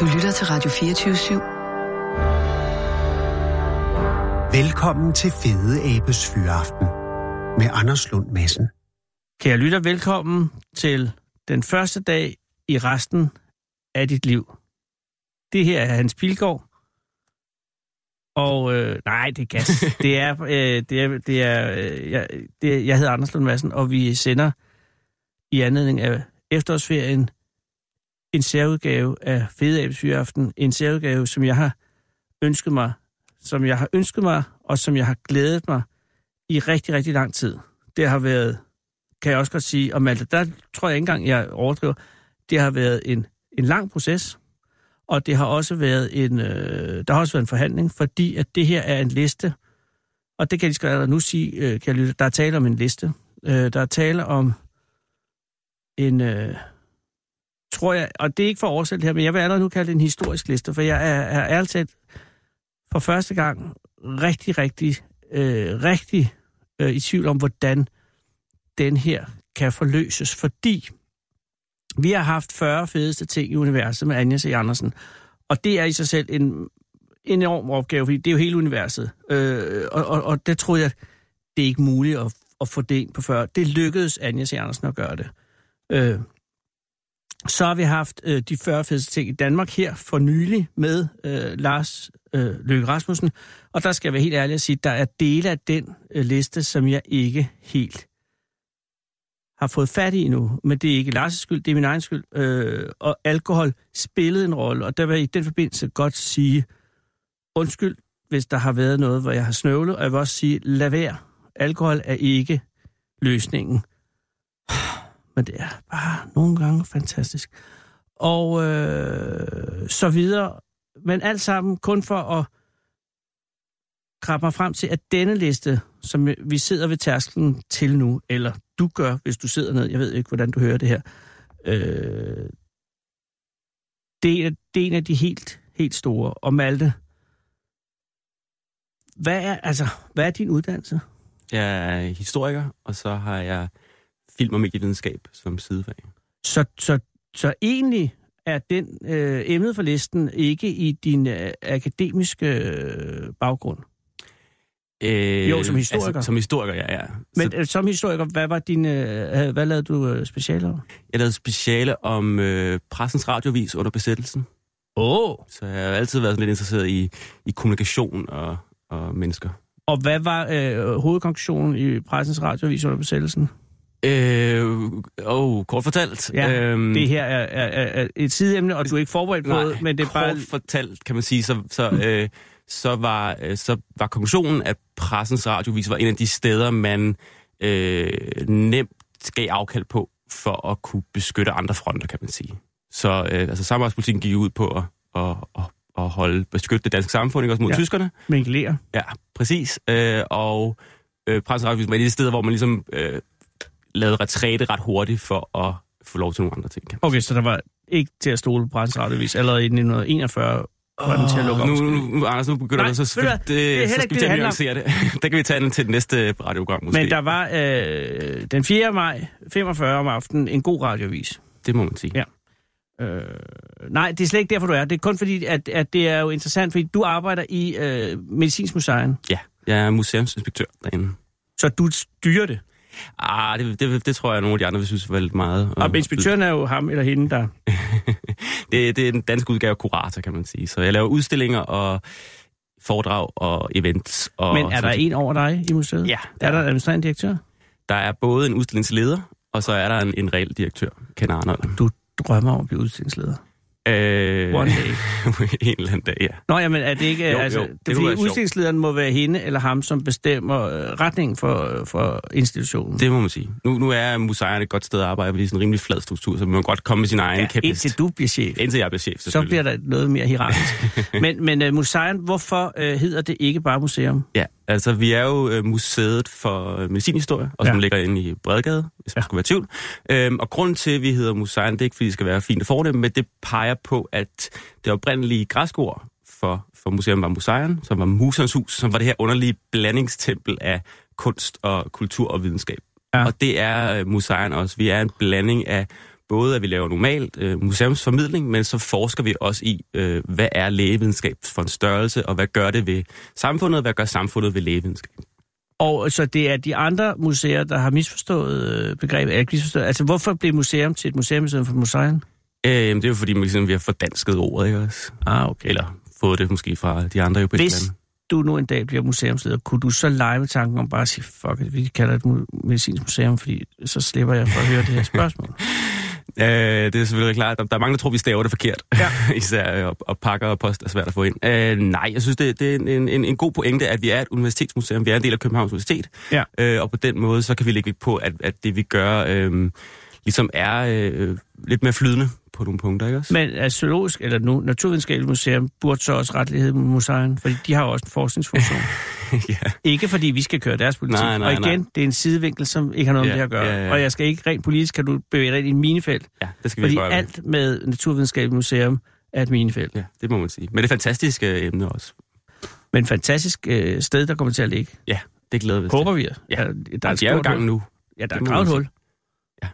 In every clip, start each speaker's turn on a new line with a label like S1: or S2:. S1: Du lytter til Radio 24-7.
S2: Velkommen til Fede Abes Fyraften med Anders Lund Madsen.
S3: Kære lytter, velkommen til den første dag i resten af dit liv. Det her er Hans Pilgaard. Og øh, nej, det er gas. det er, øh, det er, det er, øh, jeg, det, jeg hedder Anders Lund Madsen, og vi sender i anledning af efterårsferien en særudgave af Fede Abes Fyraften. En særudgave, som jeg har ønsket mig, som jeg har ønsket mig, og som jeg har glædet mig i rigtig, rigtig lang tid. Det har været kan jeg også godt sige, og Malte, der tror jeg ikke engang, jeg overdriver, det har været en, en lang proces, og det har også været en, øh, der har også været en forhandling, fordi at det her er en liste, og det kan jeg lige så godt allerede nu sige, øh, kan jeg lytte, der er tale om en liste, øh, der er tale om en, øh, tror jeg, og det er ikke for oversættet her, men jeg vil allerede nu kalde det en historisk liste, for jeg er, er ærligt talt for første gang rigtig, rigtig, øh, rigtig øh, i tvivl om, hvordan den her kan forløses, fordi vi har haft 40 fedeste ting i universet med Anja C. Andersen, og det er i sig selv en enorm opgave, fordi det er jo hele universet. Øh, og, og, og det troede jeg, det er ikke muligt at, at få det ind på 40. Det lykkedes Anja C. Andersen at gøre det. Øh, så har vi haft øh, de 40 fedeste ting i Danmark her for nylig med øh, Lars øh, Løkke Rasmussen, og der skal jeg være helt ærlig at sige, der er dele af den øh, liste, som jeg ikke helt har fået fat i nu, men det er ikke Lars' skyld, det er min egen skyld. Øh, og alkohol spillede en rolle, og der vil jeg i den forbindelse godt sige undskyld, hvis der har været noget, hvor jeg har snøvlet, og jeg vil også sige, lad være. Alkohol er ikke løsningen. Men det er bare nogle gange fantastisk. Og øh, så videre. Men alt sammen kun for at krabbe mig frem til, at denne liste, som vi sidder ved tærsklen til nu, eller du gør, hvis du sidder ned, jeg ved ikke, hvordan du hører det her, øh, det, er, en af- det er en af de helt, helt store. Og Malte, hvad er, altså, hvad er din uddannelse?
S4: Jeg er historiker, og så har jeg film og medievidenskab som sidefag.
S3: Så, så, så egentlig er den øh, emnet for listen ikke i din øh, akademiske øh, baggrund.
S4: Øh,
S3: Jo, som historiker.
S4: Altså, som historiker, ja. ja.
S3: Men
S4: så
S3: øh, som historiker, hvad var din, øh, øh, hvad lavede du øh, specialer? Åh,
S4: jeg lavede speciale om øh, pressens radiovis under besættelsen,
S3: oh,
S4: så jeg har altid været sådan lidt interesseret i, i kommunikation og, og mennesker.
S3: Og hvad var øh, hovedkonklusionen i pressens radiovis under besættelsen?
S4: Mm. Øh, oh, kort fortalt.
S3: Ja,
S4: øhm,
S3: Det her er, er, er- er et sideemne, og du er ikke forberedt på
S4: Nej,
S3: det, men det er
S4: kort
S3: bare...
S4: fortalt, kan man sige, så, så, øh, så, var, øh, så var konklusionen, at pressens radiovis var en af de steder, man øh, nemt gav afkald på, for at kunne beskytte andre fronter, kan man sige. Så øh, altså, samarbejdspolitikken gik ud på at, at, at, at holde, beskytte det danske samfund, ikke også mod
S3: Ja.
S4: ja. tyskerne.
S3: Minkelere.
S4: Ja, præcis. Øh, og øh, pressens radiovis var et af de steder, hvor man ligesom øh, lavede retræte ret hurtigt for at få lov til nogle andre ting. kan man
S3: Okay, så der var ikke til at stole på pressens radiovis. Allerede i 1941 var den til at lukke
S4: nu,
S3: op.
S4: nu, nu, Anders, nu begynder
S3: Nej,
S4: Nej, du så
S3: ved du
S4: selvfølgelig,
S3: hvad,
S4: det,
S3: det er heller
S4: så
S3: ikke
S4: skal vi
S3: det,
S4: til
S3: det
S4: at
S3: handler
S4: nuancere det. Der kan vi tage den til det næste radioprogram, måske.
S3: Men der var øh, den 4. maj, 45 om aftenen, en god radiovis.
S4: Det må man sige.
S3: Ja. Øh, nej, det er slet ikke derfor, du er. Det er kun fordi, at, at det er jo interessant, fordi du arbejder i øh, Medicinsk Museum,
S4: ja. Jeg er museumsinspektør derinde.
S3: så du styrer det.
S4: Ah, det, det, det tror jeg, nogle af de andre vil synes var lidt meget.
S3: Og
S4: øh,
S3: inspektøren er jo ham eller hende, der
S4: Det, det er den danske udgave af kurator, kan man sige. Så jeg laver udstillinger og foredrag og events. Og
S3: Men er der
S4: sådan-
S3: en over dig i museet?
S4: Ja,
S3: Er der en administrerende direktør?
S4: Der er både en udstillingsleder, og så er der en, en reel direktør, Ken Arnold.
S3: Du drømmer om at blive udstillingsleder.
S4: Øh,
S3: One day.
S4: en eller anden dag, ja.
S3: Nå, jamen, er det ikke...
S4: Jo,
S3: altså,
S4: jo,
S3: det
S4: det kunne
S3: fordi
S4: være sjovt.
S3: udstillingslederen må være hende eller ham, som bestemmer øh, retningen for, øh, for institutionen.
S4: Det må man sige. Nu, nu er museerne et godt sted at arbejde, fordi det er sådan en rimelig flad struktur, så man må godt komme med sin egen ja, kæphest.
S3: indtil du bliver chef.
S4: indtil jeg bliver chef,
S3: Så
S4: selvfølgelig.
S3: bliver der noget mere hierarkisk. men men uh, museum, hvorfor uh, hedder det ikke bare museum?
S4: Ja, altså vi er jo øh, museet for øh, medicinhistorie, og
S3: Ja.
S4: som ja. ligger inde i Bredgade, hvis
S3: Ja.
S4: man ja. skulle være i tvivl. Øhm, og grunden til, at vi hedder museum, det er ikke, fordi det skal være fint og fornemt, men det peger på, at det oprindelige græske ord for, for museum var museum, som var muserens hus, som var det her underlige blandingstempel af kunst og kultur og videnskab.
S3: Ja.
S4: Ja. Og det er øh, museum også. Vi er en blanding af både at vi laver normal øh, museumsformidling, men så forsker vi også i, øh, hvad er lægevidenskab for en størrelse, og hvad gør det ved samfundet, og hvad gør samfundet ved lægevidenskab.
S3: Og øh, så det er de andre museer, der har misforstået øh, begrebet, eller ikke misforstået. Altså, hvorfor blev museum til et museum i stedet for et museum?
S4: Øh, det er jo fordi, ligesom, vi har fordansket ordet, ikke også?
S3: Ah, okay.
S4: Eller fået det måske fra de andre europæiske
S3: Hvis
S4: lande.
S3: du nu en dag bliver museumsleder, kunne du så lege med tanken om bare at sige, fuck it, vi kalder det et mu- medicinsk museum, fordi så slipper jeg for at høre det her spørgsmål.
S4: Øh, det er selvfølgelig klart. Der, der er mange, der tror, vi staver det forkert. Ja. Især øh, og, og pakker og post er svært at få ind. Øh, nej, jeg synes, det, det er en, en, en god pointe, at vi er et universitetsmuseum. Vi er en del af Københavns Universitet.
S3: Ja.
S4: Øh, og på den måde, så kan vi lægge vægt på, at, at det vi gør, øh, ligesom er øh, lidt mere flydende på nogle punkter, ikke også?
S3: Men altså, zoologisk, eller nu, naturvidenskabeligt museum, burde så også retlighed med museum, fordi de har jo også en forskningsfunktion.
S4: ja.
S3: ikke fordi vi skal køre deres politik.
S4: Nej, nej,
S3: og igen,
S4: nej.
S3: det er en sidevinkel, som ikke har noget
S4: Ja,
S3: med det her at gøre.
S4: ja, ja.
S3: Og jeg skal ikke, rent politisk kan du bevæge dig ind i en minefelt,
S4: ja, det skal vi
S3: fordi
S4: ikke røre ved.
S3: alt med naturvidenskabeligt museum er et minefelt.
S4: Ja, det må man sige. Men det er fantastiske øh, emne også.
S3: Men et fantastisk øh, sted, der kommer til at ligge.
S4: Ja, det glæder vi os
S3: Håber vi. Ja,
S4: Ja.
S3: der er,
S4: Der er,
S3: et
S4: de er jo i
S3: stort hul.
S4: gang nu.
S3: Ja, der er
S4: Det må
S3: gravet et
S4: man
S3: hul.
S4: Ja.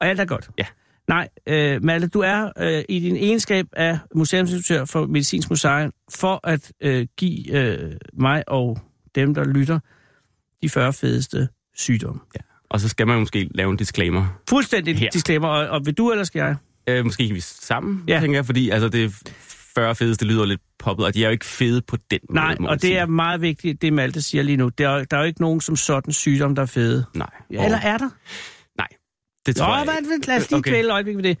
S3: Og alt er godt.
S4: Ja.
S3: Nej, øh, Malle, du er øh, i din egenskab af museumsinstitutør for Medicinsk Museum for at øh, give øh, mig og dem, der lytter, de 40 fedeste sygdomme.
S4: Og så skal man jo måske lave en disclaimer.
S3: Fuldstændig
S4: Her.
S3: disclaimer, og, og vil du eller skal jeg?
S4: Øh, måske kan vi sammen,
S3: Ja.
S4: ja. tænker jeg, fordi altså, det er 40 fedeste lyder lidt poppet, og de er jo ikke fede på den måde,
S3: Nej,
S4: må man
S3: og det
S4: sige.
S3: er meget vigtigt, det Malte siger lige nu. Der, er- der er jo ikke nogen som sådan sygdom, der er fede.
S4: Nej,
S3: Ja, eller er der?
S4: det tror jeg
S3: Nå,
S4: ikke.
S3: hvad, lad os lige okay.
S4: Okay.
S3: kvæle et øjeblik ved det.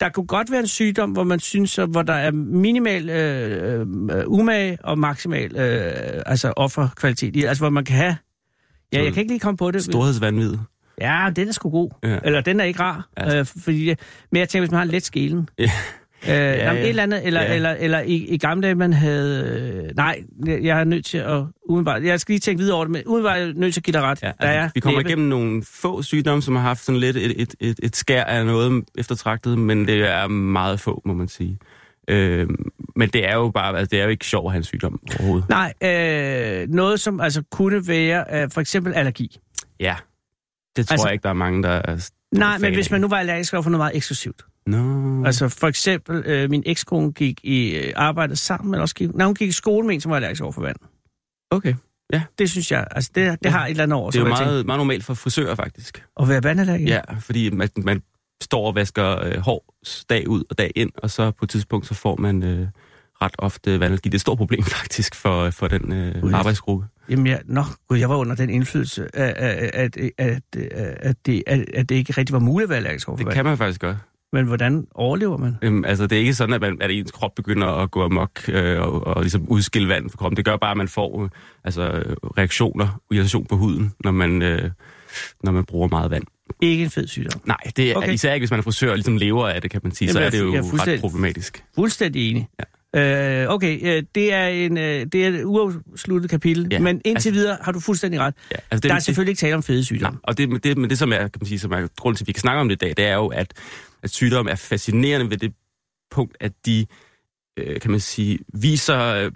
S3: Der kunne godt være en sygdom, hvor man synes, at- hvor der er minimal øh, øh, umage og maksimal øh, altså offerkvalitet. i. Altså, hvor man kan have... Ja,
S4: Så-
S3: jeg kan ikke lige komme på det.
S4: Storhedsvandvid.
S3: Ja, den er sgu god.
S4: Ja.
S3: Eller den er ikke rar.
S4: Ja.
S3: Øh, fordi, men jeg tænker, hvis man har en let skelen.
S4: Ja.
S3: Øh, ja,
S4: ja.
S3: jamen, et eller andet, eller, ja.
S4: Ja.
S3: eller, eller i, i gamle dage, man havde... Øh, nej, jeg jeg er nødt til at... Udenbart, jeg skal lige tænke videre over det, men udenbart er jeg nødt til at give dig ret.
S4: Ja, altså, vi kommer
S3: næppe-
S4: igennem nogle få sygdomme, som har haft sådan lidt et, et, et, et skær af noget eftertragtet, men det er meget få, må man sige. Øh, men det er jo bare, altså, det er jo ikke sjovt at have en sygdom overhovedet.
S3: Nej, øh, noget som altså kunne være øh, for eksempel allergi.
S4: Ja, det tror
S3: Altså-
S4: altså, jeg ikke, der er mange, der er...
S3: Nej, men
S4: fan
S3: hvis
S4: af.
S3: man nu var allergisk over for noget meget eksklusivt.
S4: No.
S3: Mm.
S4: Altså,
S3: Altså for eksempel, øh, min ekskone gik i øh, arbejde sammen, men også gik, nej, hun gik i skole med en, som var allergisk over for vand.
S4: okay.
S3: Det synes jeg, altså det, det
S4: Ja.
S3: har et eller andet over.
S4: Det er jo
S3: som jeg
S4: meget, meget normalt for frisører, faktisk.
S3: Tænker, at være vandallergisk?
S4: Ja, fordi man, man står og vasker øh, hår dag ud og dag ind, og så på et tidspunkt, så får man øh, ret ofte vandalgi. Det er et stort problem faktisk for, for den
S3: Ui.
S4: øh, arbejdsgruppe.
S3: Jamen, jeg, nå, gud, jeg var under den indflydelse, at, at, at, at, at, det, at, at det ikke rigtig var muligt at være allergisk over for
S4: Det
S3: vand.
S4: kan man faktisk godt.
S3: Men hvordan overlever man?
S4: Øhm, altså, det er ikke sådan, at, man, at ens krop begynder at gå amok øh, og, og ligesom udskille vand fra kroppen. Det gør bare, at man får øh, altså, øh, reaktioner, irritation på huden, når man, øh, når man bruger meget vand.
S3: Ikke en fed sygdom.
S4: Nej, det er
S3: Okay.
S4: okay. især ikke, hvis man er frisør og ligesom lever af det, kan man sige.
S3: Jamen,
S4: så
S3: jeg
S4: er
S3: er
S4: det
S3: fu-
S4: jo
S3: jeg er fuldstændig-
S4: ret problematisk.
S3: Fuldstændig enig. Ja. Øh, okay, øh, det er, en, øh, det er et uafsluttet kapitel, ja,
S4: Ja,
S3: men indtil altså,
S4: altså-
S3: videre har du fuldstændig ret.
S4: Ja, altså,
S3: Det, der er
S4: det-
S3: selvfølgelig ikke tale om fede
S4: Nej,
S3: sygdomme.
S4: og det, men det, men det som er, kan man sige, som er grunden til, at vi kan snakke om det i dag, det er jo, at, at sygdom er fascinerende ved det punkt, at de, øh, kan man sige, viser, øh,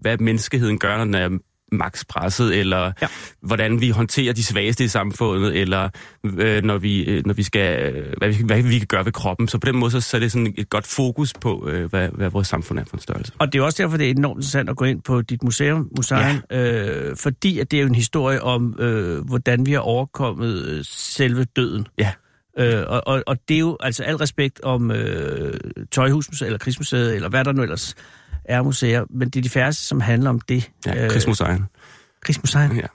S4: hvad menneskeheden gør, når den er maks presset, eller
S3: Ja.
S4: ja. hvordan vi håndterer de svageste i samfundet, eller øh, når, vi, øh, når vi skal, øh, hvad, vi, hvad vi kan gøre ved kroppen. Så på den måde, så, så er det sådan et godt fokus på, øh, hvad, hvad vores samfund er for en størrelse.
S3: Og det er også derfor, det er enormt interessant at gå ind på dit museum, museum ja. øh, fordi at det er jo en historie om, øh, hvordan vi har overkommet øh, selve døden.
S4: Ja.
S3: Øh, og, og, og det er jo altså al respekt om øh, Tøjhusmuseet, eller Krigsmuseet, eller hvad der nu ellers er museer, men det er de færreste, som handler om det.
S4: Ja, øh, Krigsmusejen.
S3: Krigsmuseet,
S4: Ja,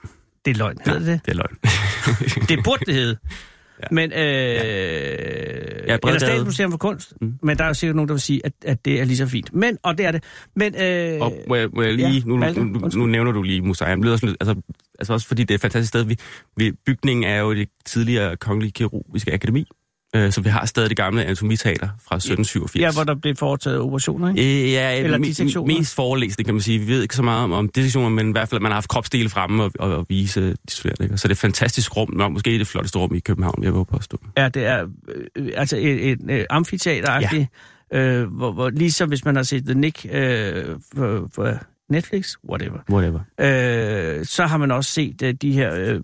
S3: det er løgn, hedder det det?
S4: det er løgn.
S3: Det burde det hedde. Ja.
S4: Ja.
S3: Men, øh, ja. eller
S4: Bredgade.
S3: Statsmuseum for Kunst. Mm.
S4: Mm.
S3: Men der er jo sikkert nogen, der vil sige, at, at det er lige så fint. Men, og det er det. Men, øh,
S4: Og må jeg, må jeg lige,
S3: ja,
S4: ja, nu,
S3: Malte,
S4: nu, nu,
S3: undskyld.
S4: nu nævner du lige Museum. Det lyder sådan, lidt- altså, altså også fordi det er et fantastisk sted. Vi, vi, bygningen er jo det tidligere Kongelige Kirurgiske Akademi, øh, så vi har stadig det gamle anatomiteater fra 1787.
S3: ja, hvor der blev foretaget operationer, ikke?
S4: Øh, ja,
S3: Eller
S4: Eller me,
S3: dissektioner.
S4: mest forelæsning, kan man sige. Vi ved ikke så meget om, om dissektioner, men i hvert fald, at man har haft kropsdele fremme og, og, og vise de studerende. ikke? Og Så det er et fantastisk rum, Nå, måske det flotteste rum i København, jeg vil påstå.
S3: Ja, det er øh, øh, altså et, et, et amfiteater ja. øh, hvor, hvor, ligesom hvis man har set The Nick øh, for, for Netflix, whatever,
S4: Whatever.
S3: øh, så har man også set øh, de her øh,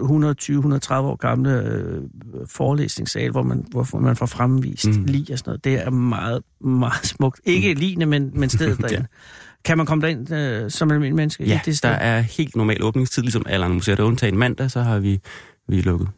S3: 120-130 år gamle øh, forelæsningssal, hvor man, hvor man får fremvist
S4: Mm.
S3: mm. lige og sådan noget. Det er meget, meget smukt. Ikke mm. ligene, men, men stedet
S4: Ja.
S3: derinde. Kan man komme derind øh, som almindelig menneske?
S4: Ja,
S3: i det
S4: der
S3: sted?
S4: er helt normal åbningstid, ligesom alle andre museer. Der er undtagen mandag, så har vi, vi er lukket.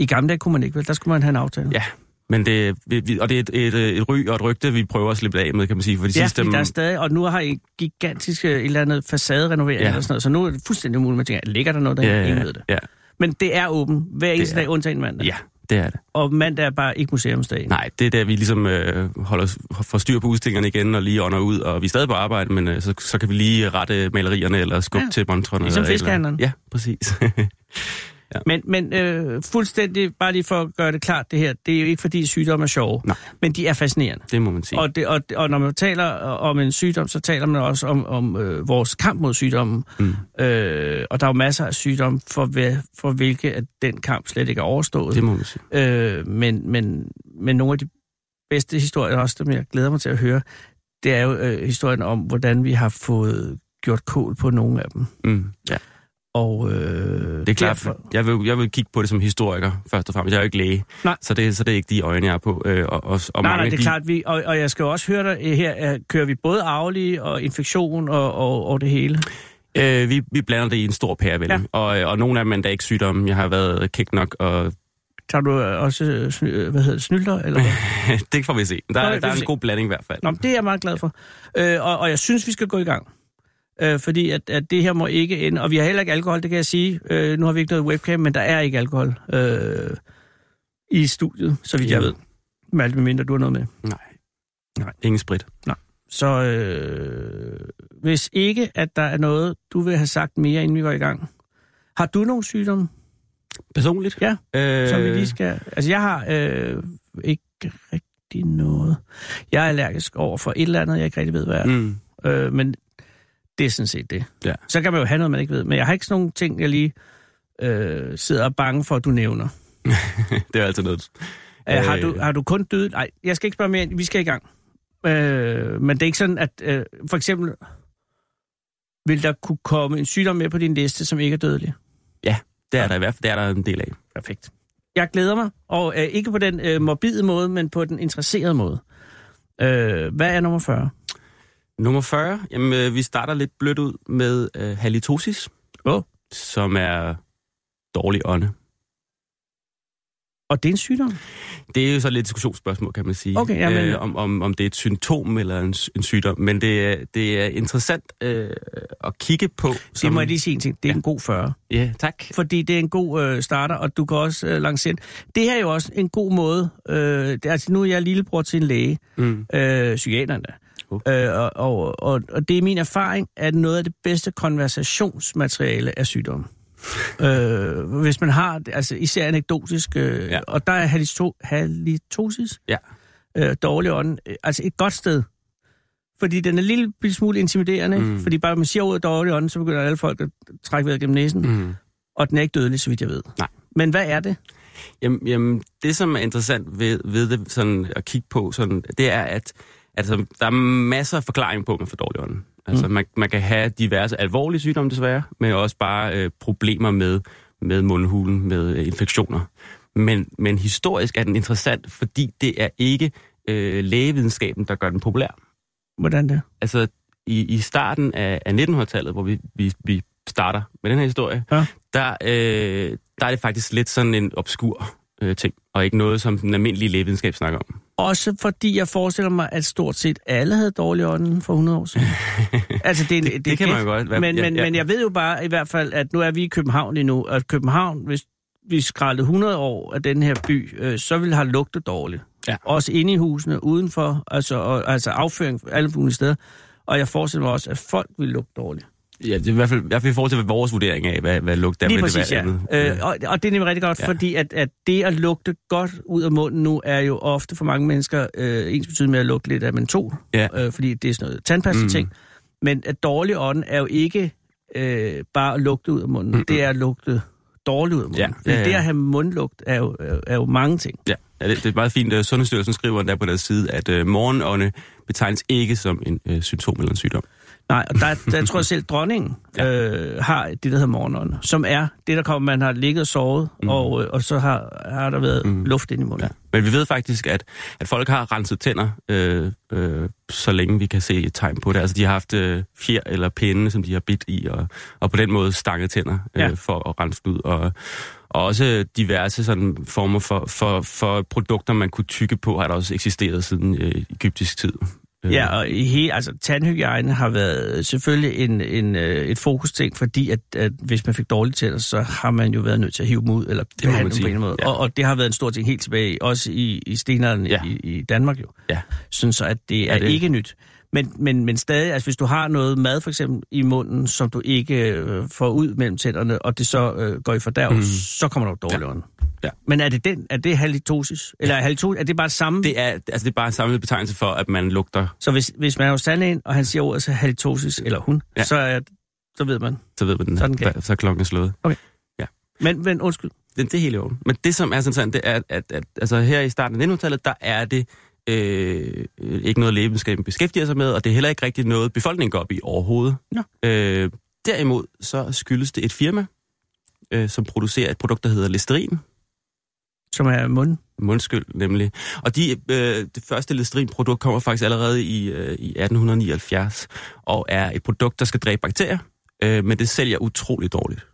S3: I gamle dage kunne man ikke, vel? Der skulle man have en aftale.
S4: Ja, Men det, vi- vi, og det er et, et, øh, et ry og et rygte, vi prøver at slippe af med, kan man sige. For de
S3: Ja,
S4: sidste,
S3: fordi der er stadig, og nu har I gigantiske et eller andet facaderenovering
S4: Ja.
S3: ja. eller sådan noget, så nu er det fuldstændig umuligt, man tænker, ligger der noget derinde?
S4: ja,
S3: Ingen
S4: ja,
S3: ved det.
S4: ja,
S3: Men det er åben hver eneste
S4: er-
S3: dag, undtagen mandag.
S4: ja, det er det.
S3: Og mandag er bare ikke museumsdagen.
S4: Nej, det er der, vi ligesom øh, holder, os- får styr på udstillingerne igen og lige ånder ud, og vi er stadig på arbejde, men øh, så, så kan vi lige rette malerierne eller skubbe ja.
S3: Ja,
S4: til montrene.
S3: ligesom
S4: eller et
S3: fiskehandleren.
S4: Eller. andet. Ja, præcis.
S3: Men, men øh, fuldstændig, bare lige for at gøre det klart det her, det er jo ikke fordi sygdomme er sjove,
S4: Nej.
S3: men de er fascinerende.
S4: det må man sige.
S3: Og, det, og, og når man taler øh, om en sygdom, så taler man også om, om øh, vores kamp mod sygdommen. Mm. Øh, og der er jo masser af sygdomme, for, hver- for hvilke at den kamp slet ikke er overstået.
S4: Det må man sige.
S3: Øh, men, men, men nogle af de bedste historier, også dem jeg glæder mig til at høre, det er jo øh, historien om, hvordan vi har fået gjort kål på nogle af dem.
S4: Mm. Ja,
S3: Og øh,
S4: det er klart.
S3: derfor,
S4: Jeg vil, jeg vil kigge på det som historiker, først og fremmest. Jeg er jo ikke læge,
S3: Nej.
S4: Så, det, så det er ikke de øjne, jeg er på. Øh, og, og,
S3: nej,
S4: og mange
S3: nej,
S4: af
S3: det er
S4: de,
S3: klart, vi, og, og jeg skal jo også høre dig, øh, her er, kører vi både arvelige og infektion og, og, og det hele.
S4: Øh, vi, vi blander det i en stor pærevælling, ja.
S3: Ja.
S4: og, øh, og nogle af dem er endda ikke sygdomme. Jeg har været kæk nok, og
S3: Tager du øh, også, øh, sny- øh, hvad hedder det, snylder? Eller hvad?
S4: det får vi se. Der,
S3: Nå,
S4: Nå,
S3: det
S4: der er
S3: får vi
S4: en
S3: se.
S4: god blanding i hvert fald.
S3: Nå, men det er jeg meget glad for. Øh, og, og jeg synes, vi skal gå i gang. Øh, fordi at, at det her må ikke ende. Og vi har heller ikke alkohol, det kan jeg sige. Øh, nu har vi ikke noget webcam, men der er ikke alkohol øh, i studiet, så vidt jeg
S4: Ja.
S3: ved. Med alt mindre du har noget med.
S4: Nej.
S3: Nej.
S4: Ingen sprit.
S3: Så øh, hvis ikke, at der er noget, du vil have sagt mere, inden vi går i gang. Har du nogle sygdomme,
S4: Personligt?
S3: Ja, øh.
S4: øh,
S3: som vi lige skal... Altså, jeg har øh, ikke rigtig noget. Jeg er allergisk over for et eller andet, jeg ikke rigtig ved, hvad er.
S4: Mm.
S3: Øh, men det er sådan set det.
S4: Ja.
S3: Så kan man jo have noget, man ikke ved. Men jeg har ikke sådan nogle ting, jeg lige øh, sidder og er bange for, at du nævner.
S4: Det er altid noget.
S3: Øh, har,
S4: Øh.
S3: du, har du kun døde... Nej, jeg skal ikke spørge mere. ind. Vi skal i gang. Øh, men det er ikke sådan, at øh, for eksempel... Vil der kunne komme en sygdom med på din liste, som ikke er dødelig?
S4: Det er der i hvert fald det er der en del af.
S3: Perfekt. Jeg glæder mig, og øh, ikke på den øh, morbide måde, men på den interesserede måde. Øh, hvad er nummer 40?
S4: Nummer 40. Jamen, øh, vi starter lidt blødt ud med øh, halitosis.
S3: Åh.
S4: Som er dårlig ånde.
S3: Og det er en sygdom?
S4: Det er jo så lidt et diskussionsspørgsmål, kan man sige. øh,
S3: Okay, jamen, ja.
S4: om, om, om det er et symptom eller en, s- en sygdom. Men det er, det er interessant øh, at kigge på.
S3: Som... Det må jeg lige sige en ting. Det er ja. en god 40.
S4: Ja, tak.
S3: fordi det er en god øh, starter, og du kan også øh, lancere den. Det her er jo også en god måde. Øh, det, er- altså, nu er jeg lillebror til en læge,
S4: Mm.
S3: øh, psykiateren der.
S4: Uh.
S3: Øh, og, og, og, og det er min erfaring, at noget af det bedste konversationsmateriale er sygdomme. øh, hvis man har, det, altså især anekdotisk, øh,
S4: Ja.
S3: ja. og der er halito- halitosis,
S4: Ja.
S3: øh, dårlig ånd, øh, altså et godt sted. Fordi den er en lille bitte smule intimiderende,
S4: Mm.
S3: mm. fordi bare man siger ordet dårlig ånd, så begynder alle folk at trække vejret gennem næsen.
S4: Mm.
S3: Og den er ikke dødelig, så vidt jeg ved.
S4: Nej.
S3: Men hvad er det?
S4: Jamen, jamen, det som er interessant ved, ved det sådan, at kigge på, sådan, det er, at altså, der er masser af forklaring på, at man får dårlig ånd. Altså, mm. man, man kan have diverse alvorlige sygdomme desværre, men også bare øh, problemer med, med mundhulen, med øh, infektioner. Men, men historisk er den interessant, fordi det er ikke øh, lægevidenskaben, der gør den populær
S3: Hvordan det?
S4: altså i, i starten af, af 1900-tallet, hvor vi, vi, vi starter med den her historie,
S3: Ja.
S4: der, øh, der er det faktisk lidt sådan en obskur øh, ting, og ikke noget, som den almindelige lægevidenskab snakker om.
S3: Også fordi jeg forestiller mig, at stort set alle havde dårlig ånden for 100 år siden. altså, det, er en, det, er
S4: det kan man
S3: gæt,
S4: jo godt være-
S3: Men,
S4: ja,
S3: men,
S4: ja.
S3: men jeg ved jo bare i hvert fald, at nu er vi i København lige nu, og København, hvis vi skraldede 100 år af den her by, øh, så ville have lugtet dårligt.
S4: Ja.
S3: Også inde i husene, udenfor, altså, og, altså afføring fra alle mulige steder. Og jeg forestiller mig også, at folk ville lugte dårligt.
S4: Ja, det er i hvert fald, i hvert fald i forhold til hvad vores vurdering af, hvad, hvad lugt er.
S3: Lige
S4: vil det
S3: præcis, ja.
S4: være andet.
S3: Øh, og, og det er nemlig rigtig godt,
S4: Ja.
S3: ja. fordi at, at det at lugte godt ud af munden nu, er jo ofte for mange mennesker øh, ens betydning med at lugte lidt af mentol,
S4: Ja. Mm.
S3: øh, fordi det er sådan noget tandpasta-ting. Men at dårlig ånd er jo ikke øh, bare at lugte ud af munden, mm-hmm. det er at lugte dårligt ud af munden.
S4: Ja,
S3: Fordi
S4: ja, ja.
S3: det at have mundlugt er jo, er, er jo mange ting.
S4: Ja, ja det, det er meget fint. Øh, Sundhedsstyrelsen skriver der på deres side, at øh, morgenånde betegnes ikke som en øh, symptom eller en sygdom.
S3: Nej, og der, der tror jeg selv, dronningen øh, har det, der hedder morgenånder, som er det, der kommer, man har ligget og sovet, mm. og, øh, og så har, har der været mm. luft ind i munden. Ja.
S4: Men vi ved faktisk, at, at folk har renset tænder, øh, øh, så længe vi kan se et tegn på det. Altså, de har haft øh, fjer eller pinde, som de har bidt i, og, og på den måde stanget tænder øh,
S3: Ja.
S4: ja. for at rense det ud. Og, og også diverse sådan, former for, for, for produkter, man kunne tykke på, har der også eksisteret siden øh, egyptisk tid. Øh,
S3: Ja, og i hele, altså, tandhygiejne har været selvfølgelig en, en, øh, et fokusting, fordi at, at hvis man fik dårlige tænder, så har man jo været nødt til at hive dem ud, eller
S4: må man
S3: behandle dem på en
S4: sige.
S3: eller anden måde. Ja.
S4: Ja.
S3: Og, og det har været en stor ting helt tilbage, også i, i stenalderen ja.
S4: Ja.
S3: i, i Danmark jo.
S4: Ja.
S3: Sådan så, at det er,
S4: det-
S3: ikke nyt. Men, men, men stadig, altså hvis du har noget mad for eksempel i munden, som du ikke øh, får ud mellem tænderne, og det så øh, går i fordærv, mm. så kommer du dårligere. Ja.
S4: Ja.
S3: Men er det den? Er det halitosis? Eller er, halitosis, er det bare det samme?
S4: Det er, altså, det er bare en samlet betegnelse for, at man lugter,
S3: Så hvis, hvis man er hos tandlægen, og han siger ordet til halitosis, eller hun, ja.
S4: Ja.
S3: så, er, så ved man.
S4: så ved man, den,
S3: Sådan kan
S4: så er klokken er slået.
S3: Men, men undskyld,
S4: det, det er helt i orden. Men det, som er sådan, sådan det er, at, at altså, her i starten af 1900-tallet, der er det øh, øh, ikke noget, lægevidenskaben beskæftiger sig med, og det er heller ikke rigtig noget, befolkningen går op i overhovedet.
S3: Nå.
S4: Øh, derimod så skyldes det et firma, øh, som producerer et produkt, der hedder Listerin.
S3: som er mund.
S4: Mundskyld, nemlig. Og de, øh, det første Listerin-produkt kommer faktisk allerede i, øh, i 1879, og er et produkt, der skal dræbe bakterier, øh, men det sælger utrolig dårligt.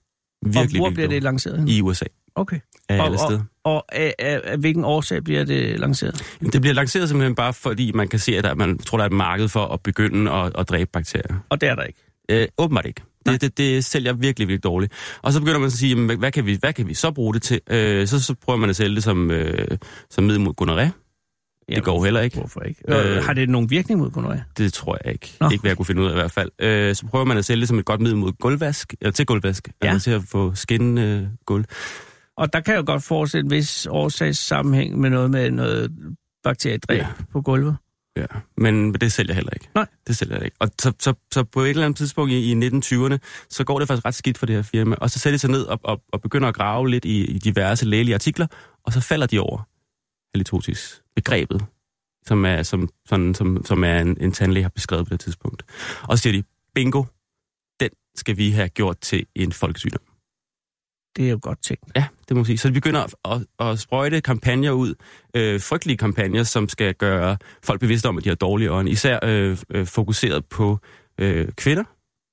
S3: og hvor
S4: Virkelig, virkelig
S3: bliver det
S4: dårligt.
S3: lanceret hen?
S4: I USA.
S3: Okay.
S4: Af
S3: Og-
S4: alle steder.
S3: Og af, af, af hvilken årsag bliver det lanceret?
S4: Jamen, Det bliver lanceret simpelthen bare fordi, man kan se, at der, man tror, der er et marked for at begynde at, at dræbe bakterier.
S3: Og det er der ikke.
S4: Øh, åbenbart ikke. Det, det, det sælger virkelig, virkelig dårligt. Og så begynder man så at sige, jamen, hvad- hvad, kan vi, hvad kan vi så bruge det til? Øh, så, så prøver man at sælge det som, øh, som middel mod gonoré.
S3: Jamen,
S4: Det går jo heller ikke.
S3: Hvorfor ikke?
S4: Øh.
S3: Øh. Har det nogen virkning mod gonorrhea?
S4: Det tror jeg ikke.
S3: Nå.
S4: Nå. Ikke hvad jeg kunne finde ud af i hvert fald. Øh, så prøver man at sælge det som et godt middel mod gulvvask, eller til gulvvask,
S3: Ja.
S4: ja. altså til at få skin øh, gulv.
S3: Og der kan jeg jo godt forestille en vis årsagssammenhæng med noget med noget bakteriedræb ja.
S4: Ja.
S3: på gulvet.
S4: Ja, men det sælger heller ikke.
S3: Nej.
S4: Det sælger heller ikke. Og så, så, så på et eller andet tidspunkt i, i 1920'erne, så går det faktisk ret skidt for det her firma. Og så sætter de sig ned og, og, og begynder at grave lidt i, i diverse lægelige artikler, og så falder de over halitosis-begrebet, som er, som, sådan, som, som er en, en tandlæge har beskrevet på det tidspunkt. Og så siger de, bingo, den skal vi have gjort til en folkesygdom.
S3: Det er jo godt tænkt.
S4: Ja, det må man sige. Så de begynder at, at, at sprøjte kampagner ud, øh, frygtelige kampagner, som skal gøre folk bevidste om, at de har dårlige øjne. Især øh, øh, fokuseret på øh, kvinder,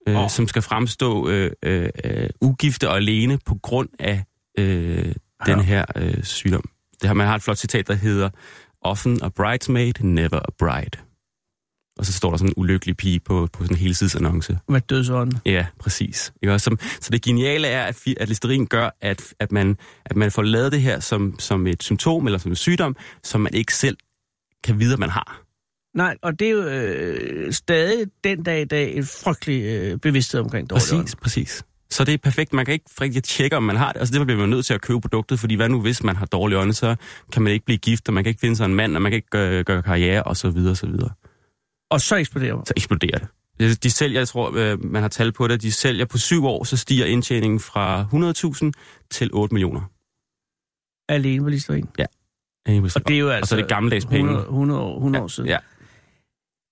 S4: øh,
S3: Åh.
S4: oh. som skal fremstå øh, øh, øh, ugifte og alene på grund af øh, den her øh, sygdom. Det har, man har et flot citat, der hedder, Often a bridesmaid, never a bride. Og så står der sådan en ulykkelig pige på, på sådan en helsidsannonce.
S3: Med dødsånden.
S4: Ja, præcis. Ikke også? Som, så det geniale er, at, fi- at listerin gør, at, at, man, at man får lavet det her som, som et symptom eller som en sygdom, som man ikke selv kan vide, at man har.
S3: Nej, og det er jo øh, stadig den dag i dag en frygtelig øh, bevidsthed omkring dårlig ånd.
S4: Præcis, præcis. Så det er perfekt. Man kan ikke rigtig tjekke, om man har det. Altså derfor bliver man nødt til at købe produktet, fordi hvad nu hvis man har dårlige øjne, så kan man ikke blive gift, og man kan ikke finde sig en mand, og man kan ikke gøre, gøre karriere, og så videre, og så videre.
S3: Og så eksploderer
S4: Så eksploderer det. De sælger, jeg tror, øh, man har tal på det, de sælger på syv år, så stiger indtjeningen fra 100.000 til 8 millioner.
S3: alene på listerin. Og det er jo altså...
S4: og så er det gammeldags penge.
S3: 100, 100, år- 100 år siden.
S4: Ja.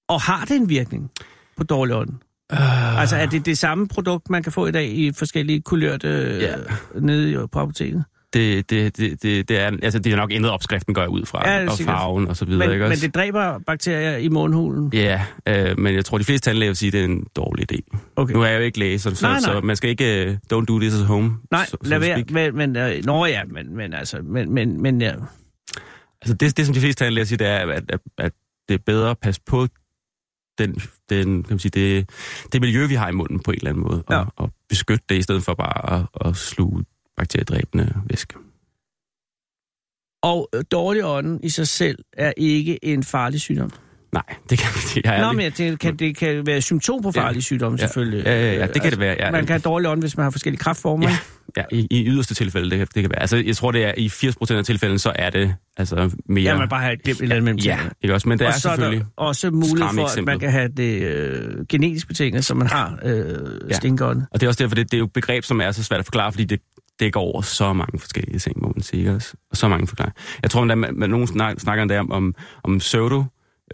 S3: Og har det en virkning på dårlig ånd?
S4: Øh,
S3: Altså er det det samme produkt, man kan få i dag i forskellige kulørte ja.
S4: Ja.
S3: nede i- på apoteket?
S4: det, det, det, det, det, er, altså, det er nok ændret opskriften, går jeg ud fra,
S3: Ja, det er
S4: ja, og
S3: sikkert.
S4: farven og så videre.
S3: Men,
S4: ikke
S3: men
S4: også?
S3: det dræber bakterier i mundhulen?
S4: Ja, øh, men jeg tror, de fleste tandlæger vil sige, at det er en dårlig idé.
S3: Okay.
S4: Nu er jeg jo ikke læge, så, så,
S3: Nej, nej.
S4: så man skal ikke øh, don't do this at home.
S3: Nej,
S4: so, so
S3: lad
S4: to
S3: være.
S4: speak.
S3: Men, men, øh, nå ja, men, men altså... Men, men, men, ja.
S4: Altså, det, det, som de fleste tandlæger siger, det er, at, at, at det er bedre at passe på den, den, kan man sige, det, det miljø, vi har i munden på en eller anden måde,
S3: Ja.
S4: og, og beskytte det, i stedet for bare at, at sluge bakteriedræbende væske.
S3: Og øh, dårlig ånd i sig selv er ikke en farlig sygdom.
S4: Nej, det kan det er
S3: Nå, men jeg tænker, kan, det kan være et symptom på
S4: Ja.
S3: farlige sygdomme, selvfølgelig.
S4: Ja, ja, ja, det kan det være. Ja,
S3: Altså, Man kan have dårlig ånd, hvis man har forskellige kraftformer.
S4: Ja, ja i, i yderste tilfælde, det, kan- det kan være. Altså, jeg tror, det er i 80% af tilfældene, så er det altså mere...
S3: Ja, man bare har et glimt et eller andet mellem
S4: Ja,
S3: tingene.
S4: ikke også? Men det
S3: og
S4: er
S3: så er
S4: selvfølgelig...
S3: der også mulighed for, at man
S4: Skræmmeeksemplet.
S3: kan have det øh, genetisk betinget, som man har øh,
S4: Ja.
S3: stinkånde.
S4: Og det er også derfor, det, det er jo et begreb, som er så svært at forklare, fordi det dækker over så mange forskellige ting, må man sige ikke også. Og så mange forklare. Jeg tror, at man, man, nogen snak, snakker endda om, om, om pseudo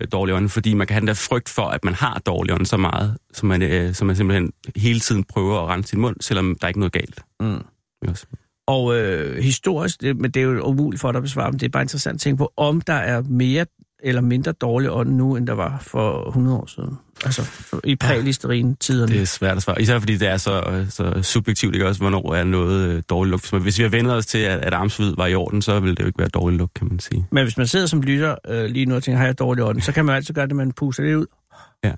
S4: øh, dårlig ånd, fordi man kan have den der frygt for, at man har dårlig ånd så meget, så man, øh, så man simpelthen hele tiden prøver at rense sin mund, selvom der er ikke noget galt.
S3: Mm.
S4: Ikke også?
S3: Og øh, historisk, det, men det er jo umuligt for dig at besvare, men det er bare interessant at tænke på, om der er mere eller mindre dårlig ånd nu, end der var for 100 år siden. Altså for- i prælisterin-tiderne.
S4: Det er svært at svare. Især fordi det er så, øh, så subjektivt, ikke også, hvornår er noget øh, dårlig lugt. Hvis, man, hvis vi har vendt os til, at, at armsvid var i orden, så ville det jo ikke være dårlig lugt, kan man sige.
S3: Men hvis man sidder som lytter øh, lige nu og tænker, har jeg dårlig ånd, så kan man altid gøre det, at man puster det ud,
S4: Ja.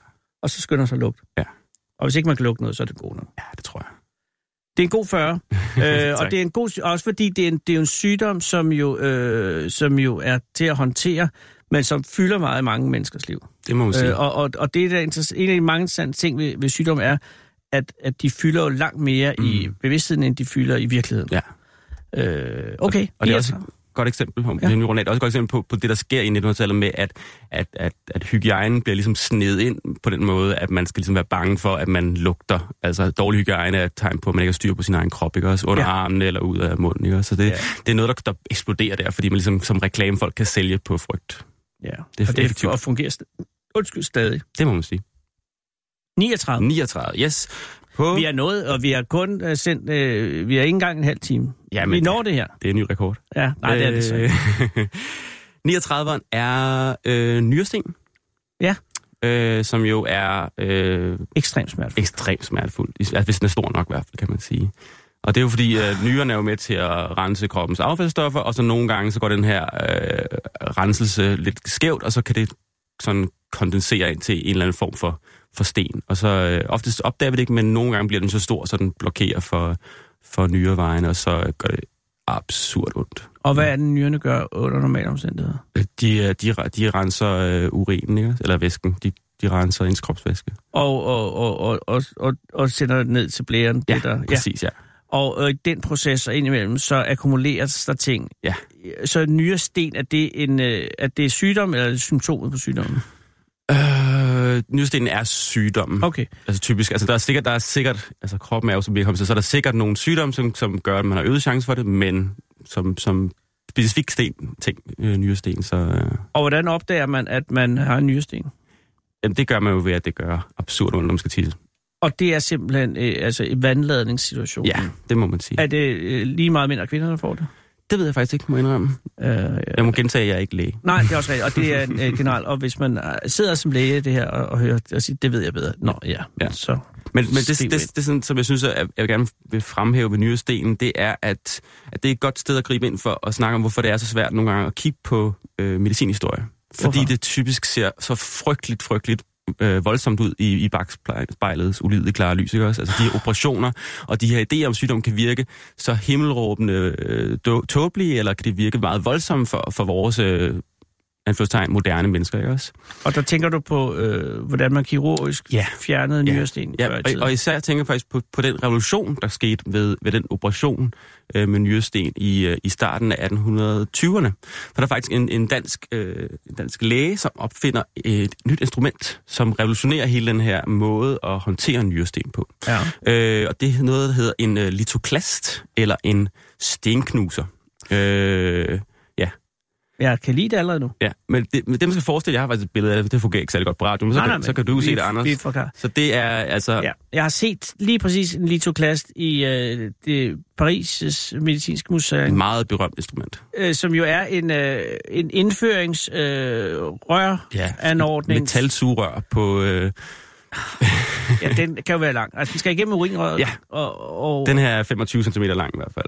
S3: og så skynder sig at lugte.
S4: Ja.
S3: Og hvis ikke man kan lugte noget, så er det god nok.
S4: Ja, det tror jeg.
S3: Det er en god 40, øh, og
S4: Tak.
S3: det er en god, også fordi det er en, det er jo en sygdom, som jo, øh, som jo er til at håndtere, men som fylder meget i mange menneskers liv.
S4: Det må man sige.
S3: Øh, og, og, og det er da interess- en af de mange interessante ting ved, ved sygdom er, at, at de fylder jo langt mere mm. i
S4: Mm.
S3: bevidstheden, end de fylder i virkeligheden.
S4: Ja.
S3: Øh, okay.
S4: Og det er
S3: Ja,
S4: også
S3: så.
S4: et godt eksempel, om
S3: Ja.
S4: ja. det er rundt af, også et godt eksempel på, på det, der sker i 1900-tallet med, at, at, at, at hygiejnen bliver ligesom snedet ind på den måde, at man skal ligesom være bange for, at man lugter. Altså dårlig hygiejne er et tegn på, at man ikke har styr på sin egen krop, ikke også? Under
S3: Ja.
S4: ja. armene eller ud af munden, ikke også? Så det,
S3: Ja.
S4: ja. det er noget, der, der eksploderer der, fordi man ligesom som reklamefolk kan sælge på frygt.
S3: Ja.
S4: Det er
S3: og det
S4: effektivt.
S3: og fungerer st- undskyld, stadig.
S4: Det må man sige.
S3: 39.
S4: 39, yes. På...
S3: Vi er nået, og vi har kun øh, sendt, øh, vi er ikke engang en halv time.
S4: Jamen,
S3: vi når det her.
S4: Det er en ny rekord.
S3: Ja, nej, det er
S4: Øh.
S3: det så ikke.
S4: 39'eren er øh, nyresten.
S3: Ja.
S4: Øh, som jo er øh,
S3: Ekstremt smertefuldt.
S4: ekstremt smertefuldt, is- altså hvis den er stor nok i hvert fald, kan man sige. Og det er jo fordi, at nyrerne er jo med til at rense kroppens affaldsstoffer, og så nogle gange, så går den her øh, renselse lidt skævt, og så kan det sådan kondensere ind til en eller anden form for, for sten. Og så øh, oftest opdager vi det ikke, men nogle gange bliver den så stor, så den blokerer for, for nyrevejen, og så gør det absurd ondt.
S3: Og hvad er den nyrene gør under normale omstændigheder?
S4: Øh, De, øh, de, re- de renser øh, urinen, ikke? eller væsken. De, de renser ens kropsvæske.
S3: Og, og, og, og, og, og, og sender det ned til blæren. det der. ja.
S4: præcis, ja.
S3: Og øh, i den proces og indimellem, så akkumuleres der ting.
S4: Ja.
S3: Så nyresten, er det, en, øh, er det sygdom, eller er det symptomet på sygdommen?
S4: Øh, nyrestenen er sygdommen.
S3: Okay.
S4: Altså typisk, altså der er sikkert, der er sikkert altså kroppen er jo som velkomst, så der er sikkert nogle sygdomme, som, som gør, at man har øget chance for det, men som, som specifik sten, ting, øh, nyresten, så øh,
S3: Og hvordan opdager man, at man har en nyresten?
S4: jamen, det gør man jo ved, at det gør absurd ondt, om man skal til.
S3: Og det er simpelthen øh, altså i vandladningssituationen.
S4: Ja, det må man sige.
S3: Er det øh, lige meget mænd og kvinder, der får det?
S4: Det ved jeg faktisk ikke, må jeg indrømme.
S3: Øh,
S4: Jeg må gentage, at jeg er ikke læge.
S3: Nej, det er også rigtigt, og det er en, øh, generelt. Og hvis man øh, sidder som læge i det her og, og hører og siger, det ved jeg bedre. Nå, ja.
S4: Ja.
S3: Så.
S4: Men, men det,
S3: Steven.
S4: det, det, det sådan, som jeg synes, at jeg vil gerne vil fremhæve ved nyrestenen, det er, at, at det er et godt sted at gribe ind for at snakke om, hvorfor det er så svært nogle gange at kigge på øh, medicinhistorie. Fordi
S3: Hvorfor?
S4: det typisk ser så frygteligt, frygteligt øh, voldsomt ud i, i bagspejlets ulidede klare lys. Ikke også? Altså de her operationer og de her idéer om sygdom kan virke så himmelråbende øh, då- tåbelige, eller kan det virke meget voldsomt for, for vores øh, anførstegn, moderne mennesker. Ikke også?
S3: Og der tænker du på, øh, hvordan man kirurgisk
S4: Ja.
S3: fjernede
S4: Ja.
S3: nyresten
S4: Ja,
S3: før i
S4: og,
S3: tiden.
S4: og især tænker jeg faktisk på, på den revolution, der skete ved, ved den operation øh, med nyresten i, øh, i starten af 1820'erne. For der er faktisk en, en, dansk, øh, en dansk læge, som opfinder et nyt instrument, som revolutionerer hele den her måde at håndtere nyresten på.
S3: ja.
S4: Øh, og det er noget, der hedder en øh, litoklast, eller en stenknuser. Øh,
S3: Jeg kan lide det allerede nu.
S4: ja, men det, men det, man skal forestille, jeg har faktisk et billede af det, det fungerer ikke særlig godt på radio, men så, kan,
S3: men
S4: så kan du se
S3: vi-
S4: det, Anders.
S3: Vi forklarer.
S4: Så det er altså...
S3: Ja. Jeg har set lige præcis en litoklast i øh, det Paris' medicinske
S4: Et
S3: museum,
S4: meget berømt instrument.
S3: øh, som jo er en, øh, en indføringsrør. Øh,
S4: Ja,
S3: Anordnings-
S4: Metalsugerør på... Øh,
S3: ja, den kan jo være lang. Altså, den skal igennem urinrøret.
S4: Ja.
S3: Og, og,
S4: den her er 25 cm lang i hvert fald.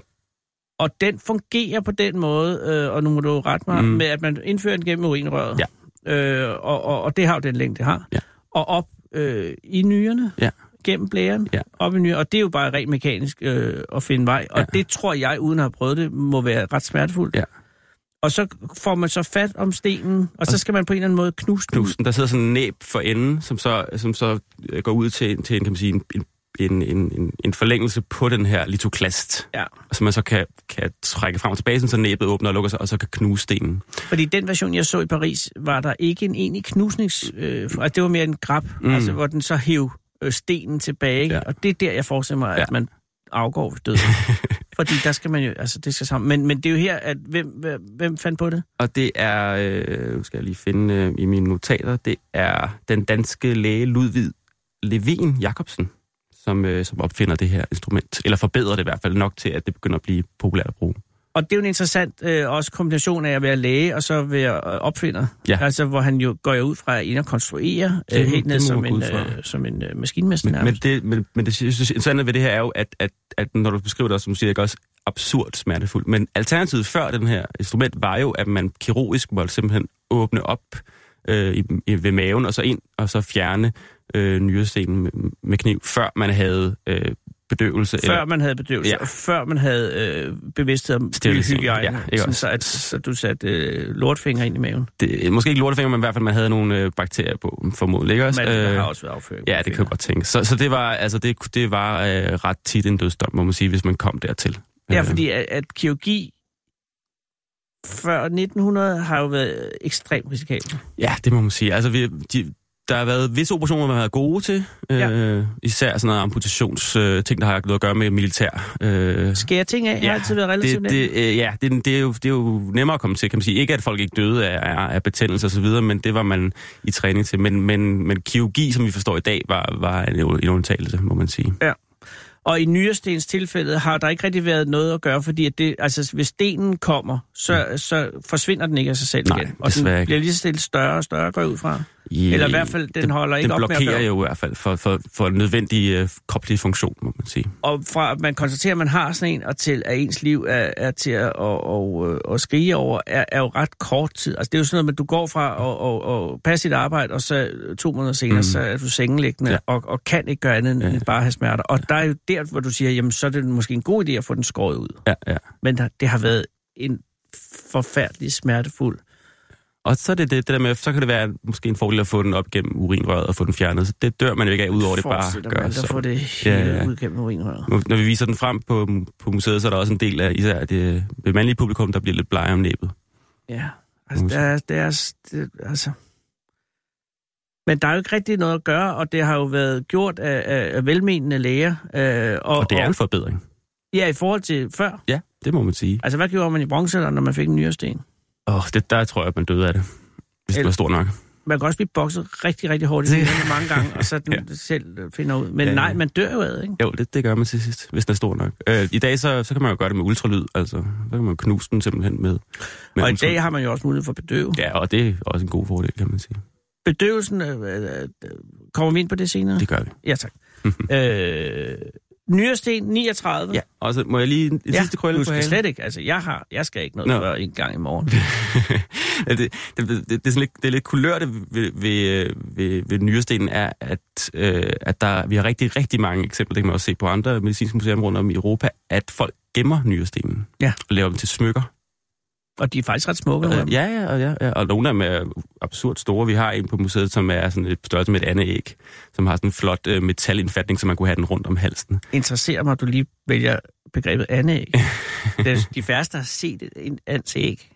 S3: Og den fungerer på den måde, øh, og nu må du rette mig, mm.
S4: Mm.
S3: med at man indfører den gennem urinrøret. Ja. Øh, og, og, og det har jo den længde, det har.
S4: Ja.
S3: Og op øh, i nyrerne,
S4: Ja.
S3: gennem blæren,
S4: Ja.
S3: op i nyrerne. Og det er jo bare rent mekanisk øh, at finde vej. Og ja.
S4: Ja.
S3: det tror jeg, uden at have prøvet det, må være ret smertefuldt.
S4: Ja.
S3: Og så får man så fat om stenen, og så skal man på en eller anden måde knuse den.
S4: Knusen, der sidder sådan en næb for enden, som så, som så øh, går ud til, til en, kan man sige, en, en, en, en, en forlængelse på den her litoklast,
S3: Ja.
S4: som man så kan, kan trække frem og tilbage, sådan så næbet åbner og lukker sig, og så kan knuse stenen.
S3: Fordi den version, jeg så i Paris, var der ikke en egentlig knusnings... Øh, altså, det var mere en grab, mm.
S4: Mm.
S3: altså, hvor den så hæv øh, stenen tilbage. Ja.
S4: Ja.
S3: Og det er der, jeg forestiller mig, at ja.
S4: Ja.
S3: man afgår ved døden. Fordi der skal man jo, altså det skal sammen. Men, men det er jo her, at hvem, hvem, hvem fandt på det?
S4: Og det er, øh, nu skal jeg lige finde øh, i mine notater, det er den danske læge Ludvig Levin Jacobsen, som, øh, som opfinder det her instrument. Eller forbedrer det i hvert fald nok til, at det begynder at blive populært at bruge.
S3: Og det er jo en interessant øh, også kombination af at være læge og så være øh, opfinder.
S4: Ja.
S3: Altså, hvor han jo går jo ud fra at ind og konstruere øh,
S4: Det-
S3: helt ned
S4: det må
S3: som
S4: man gå
S3: en,
S4: ud fra.
S3: øh, som en øh, maskinmester
S4: Men, men,
S3: nærmest.
S4: det, men, men det synes jeg- interessante ved det her er jo, at, at, at når du beskriver det også, som du siger, ikke også absurd smertefuldt. Men alternativet før den her instrument var jo, at man kirurgisk måtte simpelthen åbne op øh, i, i, ved maven og så ind og så fjerne øh, nyrestenen med, med kniv, før man havde øh, bedøvelse.
S3: Før man havde bedøvelse,
S4: Ja.
S3: ja. og før man havde øh, bevidsthed om
S4: Sterilisering,
S3: hygiejne,
S4: ja,
S3: ja,
S4: ikke
S3: sådan,
S4: også?
S3: så, at, så du satte øh, lortfinger ind i maven.
S4: det, måske ikke lortefinger, men i hvert fald, man havde nogle øh, bakterier på, formodentlig. Ikke også?
S3: Men øh,
S4: Øh,
S3: har også været afføring.
S4: Ja, det kan jeg godt tænke. Så, så det var, altså, det, det var øh, ret tit en dødsdom, må man sige, hvis man kom dertil.
S3: Ja,
S4: Øh,
S3: fordi at, at kirurgi før 1900 har jo været ekstremt risikabelt.
S4: Ja, det må man sige. Altså, vi, de, der har været visse operationer, man har været gode til. Øh, ja. Især sådan noget amputationsting, øh, ting, der har noget at gøre med militær. Øh,
S3: Skære ting af ja,
S4: Ja,
S3: har altid været
S4: det,
S3: relativt
S4: det, øh, ja, det, det, er jo, det er jo nemmere at komme til, kan man sige. Ikke at folk ikke døde af, af, af betændelse og så videre, men det var man i træning til. Men, men, men kirurgi, som vi forstår i dag, var, var en, en undtagelse, må man sige.
S3: Og i nyrestens tilfælde har der ikke rigtig været noget at gøre, fordi at det, altså, hvis stenen kommer, så, så forsvinder den ikke af sig selv
S4: Mm. Nej,
S3: igen. Og den
S4: desværre ikke.
S3: bliver lige så stille større og større, går jeg ud fra.
S4: I,
S3: Eller i hvert fald, den holder ikke
S4: den
S3: op med at
S4: blokerer
S3: gøre.
S4: jo i hvert fald for, for, for nødvendig øh, kropslig funktion, må man sige.
S3: Og fra at man konstaterer, at man har sådan en, og til at ens liv er, er til at, og, og, øh, at skrige over, er, er jo ret kort tid. Altså det er jo sådan noget, med, at du går fra at og, og passe dit arbejde, og så to måneder senere,
S4: Mm.
S3: mm. så er du sengeliggende,
S4: Ja.
S3: ja. og, og kan ikke gøre andet end
S4: Ja.
S3: ja. bare have smerter. Og der er jo der, hvor du siger, jamen så er det måske en god idé at få den skåret ud.
S4: Ja, ja.
S3: men der, det har været en forfærdelig smertefuld.
S4: Og så er det, det, det der med, så kan det være måske en fordel at få den op gennem urinrøret og få den fjernet. Så det dør man jo ikke af, udover det bare
S3: Forestil dig,
S4: gør
S3: man, der får
S4: så.
S3: det
S4: Ja,
S3: hele ja,
S4: ja.
S3: ja. ud gennem urinrøret.
S4: Nu- Når vi viser den frem på, på museet, så er der også en del af især det, det mandlige publikum, der bliver lidt blege om næbet.
S3: Ja, altså, der, er- der, er- det, altså. Men der er jo ikke rigtig noget at gøre, og det har jo været gjort af, af, af velmenende læger. Øh, og,
S4: Og det er en forbedring.
S3: Ja, i forhold til før.
S4: Ja, det må man sige.
S3: Altså, hvad gjorde man i bronzealderen, når man fik en nyresten?
S4: Åh, det, der tror jeg, at man døde af det. Hvis det
S3: Eller-
S4: var stor nok.
S3: Man kan også blive bokset rigtig, rigtig hårdt i
S4: Det-
S3: fingrene mange gange, og så den ja. selv finder ud. Men
S4: Ja, ja.
S3: nej, man dør jo af, det, ikke?
S4: Jo, det, det gør man til sidst, hvis den er stor nok. Øh, I dag, så, så kan man jo gøre det med ultralyd. Altså, så kan man knuse den simpelthen med, med
S3: og i
S4: ultralyd.
S3: dag har man jo også mulighed for at bedøve.
S4: Ja, og det er også en god fordel, kan man sige.
S3: Bedøvelsen, øh, øh, øh, kommer vi ind på det senere?
S4: Det gør vi.
S3: Ja, tak. øh, Nyresten 39.
S4: Ja, og så må jeg lige en, en ja, sidste krølle
S3: du
S4: på
S3: skal
S4: halen?
S3: slet ikke. Altså, jeg, har, jeg skal ikke noget
S4: Nå.
S3: Nå. før en gang i morgen.
S4: Ja, det, det, det, det, er sådan lidt, det er lidt kulørt ved, ved, øh, ved, ved nyrestenen, er, at, øh, at der, vi har rigtig, rigtig mange eksempler, det kan man også se på andre medicinske museer rundt om i Europa, at folk gemmer nyrestenen
S3: Ja.
S4: og laver dem til smykker.
S3: Og de er faktisk ret smukke.
S4: Øh,
S3: Øh,
S4: ja, ja, og ja, ja, og nogle af dem er absurd store. Vi har en på museet, som er sådan et størrelse med et andet æg, som har sådan en flot øh, metalindfatning, så man kunne have den rundt om halsen.
S3: Interesserer mig, at du lige vælger begrebet andeæg. det er, de færreste har set et- en ands æg.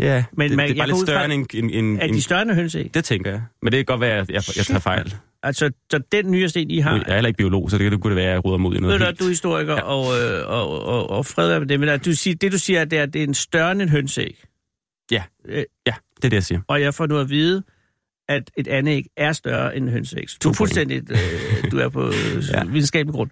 S4: Ja,
S3: Men
S4: det,
S3: man-
S4: det er
S3: jeg
S4: bare
S3: går
S4: lidt
S3: ud fra-
S4: større end en... en, en,
S3: Er
S4: en
S3: de større end hønseæg?
S4: det tænker jeg. Men det kan godt være, at jeg, jeg tager fejl.
S3: Altså, så den nyresten, I har...
S4: Jeg er heller ikke biolog, så det kunne det være, at jeg ruder mod i
S3: Ved
S4: noget
S3: du,
S4: helt.
S3: at du er historiker, ja. og, øh, og, og, og fred være med det, men at du siger, det du siger, det er, at det er en større end en hønseæg.
S4: Ja.
S3: Øh,
S4: Ja, det er det, jeg siger.
S3: og jeg får nu at vide, at et anæg er større end en hønseæg. Så Du er
S4: To point.
S3: fuldstændig øh, du er på øh,
S4: Ja.
S3: ja. videnskabelig grund.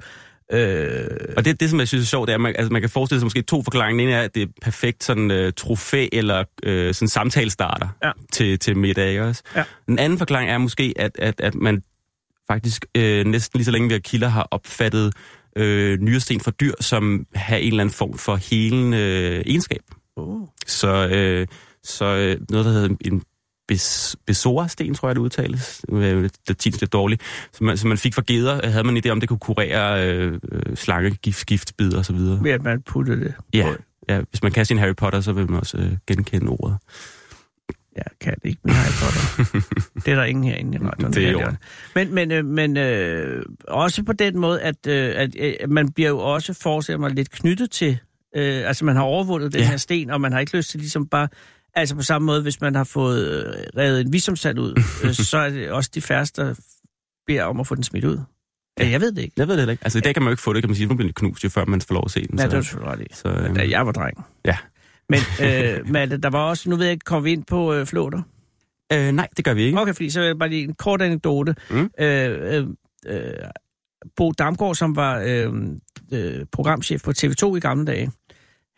S3: Øh,
S4: Og det, det som jeg synes er sjovt, det er, at man, altså, man kan forestille sig måske to forklaringer. Den ene er, at det er perfekt sådan øh, trofæ eller øh, sådan samtalestarter
S3: Ja.
S4: til, til middag, ikke også?
S3: Ja.
S4: Den anden forklaring er måske, at, at, at man faktisk øh, næsten lige så længe vi har kilder, har opfattet øh, nyresten fra dyr, som har en eller anden form for helende øh, egenskab.
S3: oh.
S4: Så, øh, så øh, noget, der hedder en bes, besorasten, tror jeg, det udtales. Nu er jeg jo lidt- Latinsk lidt dårligt. Som man, som man fik fra geder, øh, havde man en idé om, det kunne kurere øh, øh, slangegift, giftbider osv.
S3: Ved at man putter det.
S4: Ja, ja, hvis man kan sin Harry Potter, så vil man også øh, genkende ordet.
S3: Jeg kan det ikke, men jeg har godt. Det er der ingen herinde i radioen.
S4: Det er
S3: der
S4: i
S3: kan
S4: orden.
S3: det. Men, men, øh, men øh, også på den måde, at, øh, at øh, man bliver jo også, forestiller mig, lidt knyttet til... Øh, altså, man har overvundet den
S4: Ja.
S3: her sten, og man har ikke lyst til ligesom bare... Altså på samme måde, hvis man har fået øh, revet en visumsand ud, øh, så er det også de færreste, der beder om at få den smidt ud. Ja. Jeg ved det ikke.
S4: Jeg ved det heller ikke. Altså, i dag kan man jo ikke få det, kan man sige. Nu bliver det knust, jo før man får lov at se den.
S3: Nej,
S4: så-
S3: det var du selvfølgelig ret i.
S4: så, øh,
S3: Da jeg var dreng.
S4: Ja.
S3: Men øh, Malte, der var også, nu ved jeg ikke, kom vi ind på øh, flåter?
S4: øh, nej, det gør vi ikke.
S3: Okay, fordi så vil jeg bare lige en kort anekdote.
S4: Mm.
S3: Øh, øh, øh, Bo Damgaard, som var øh, øh, programchef på TV2 i gamle dage,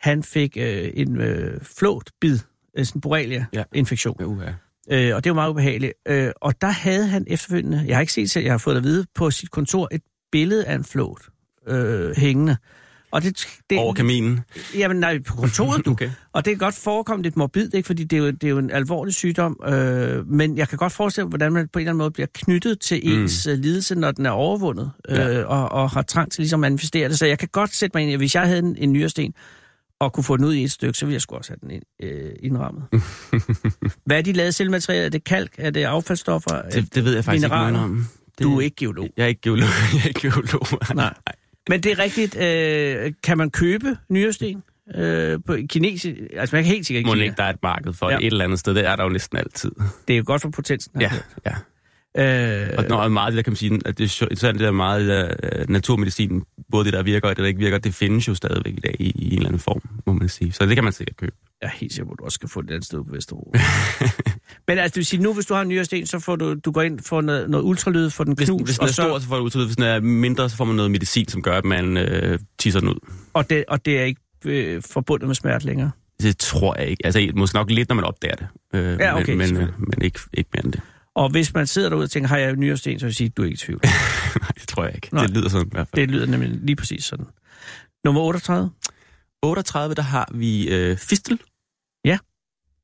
S3: han fik øh, en øh, flåtbid, øh, sådan en
S4: Ja.
S3: borrelia-infektion.
S4: Okay. Uh, ja.
S3: Øh, og det var meget ubehageligt. Øh, og der havde han efterfølgende, jeg har ikke set selv, jeg har fået det at vide, på sit kontor et billede af en flåt øh, hængende. Og det, det,
S4: Over kaminen.
S3: Jamen nej, på kontoret du. okay. Og det kan godt forekomme lidt morbidt, ikke? fordi det er, jo, det er jo en alvorlig sygdom. Øh, men jeg kan godt forestille mig, hvordan man på en eller anden måde bliver knyttet til
S4: Mm.
S3: mm. ens øh, lidelse, når den er overvundet, øh,
S4: Ja.
S3: og, og har trang til ligesom at manifestere det. Så jeg kan godt sætte mig ind i, at hvis jeg havde en, en nyresten, og kunne få den ud i et stykke, så ville jeg sgu også have den ind, øh, indrammet. Hvad er de lavet selv materialer? Er det kalk? Er det affaldsstoffer?
S4: Det, det ved jeg faktisk
S3: Mineraler.
S4: ikke noget om. Det,
S3: Du er ikke geolog.
S4: Jeg er ikke geolog. jeg er ikke geolog.
S3: Nej. Men det er rigtigt. Øh, kan man købe nyresten? Øh, på kinesisk, altså man kan helt sikkert
S4: Må
S3: Kina.
S4: ikke, der er et marked for ja.
S3: Ja.
S4: et eller andet sted. Det er der jo næsten altid.
S3: Det er jo godt for potensen.
S4: Ja, ja.
S3: Øh,
S4: Og når er meget af det der, kan man sige, at det er sjovt, interessant, det der meget af det der øh, naturmedicin, både det, der virker og det, der ikke virker, det findes jo stadigvæk i dag i, i en eller anden form, må man sige. Så det kan man sikkert købe.
S3: jeg er helt sikker på, at du også skal få det et andet sted på Vesterbro. Men altså, det vil sige, nu hvis du har en nyresten, så får du, du går ind for noget, noget ultralyd, for den
S4: Hvis,
S3: knus,
S4: hvis den
S3: og,
S4: er
S3: så,
S4: stor, så får du udtryk. Hvis den er mindre, så får man noget medicin, som gør, at man øh, tisser den ud.
S3: og, det, og det er ikke øh, forbundet med smerte længere.
S4: Det tror jeg ikke. Altså, måske nok lidt, når man opdager det. Øh,
S3: Ja, okay,
S4: men, men, øh,
S3: selvfølgelig.
S4: men ikke, ikke mere end det.
S3: Og hvis man sidder derude og tænker, har jeg nyresten, så vil jeg sige, du er ikke i tvivl.
S4: Nej, det tror jeg ikke.
S3: Nej.
S4: Det lyder sådan i hvert fald.
S3: Det lyder nemlig lige præcis sådan. Nummer 38.
S4: 38, der har vi øh, fistel.
S3: Ja.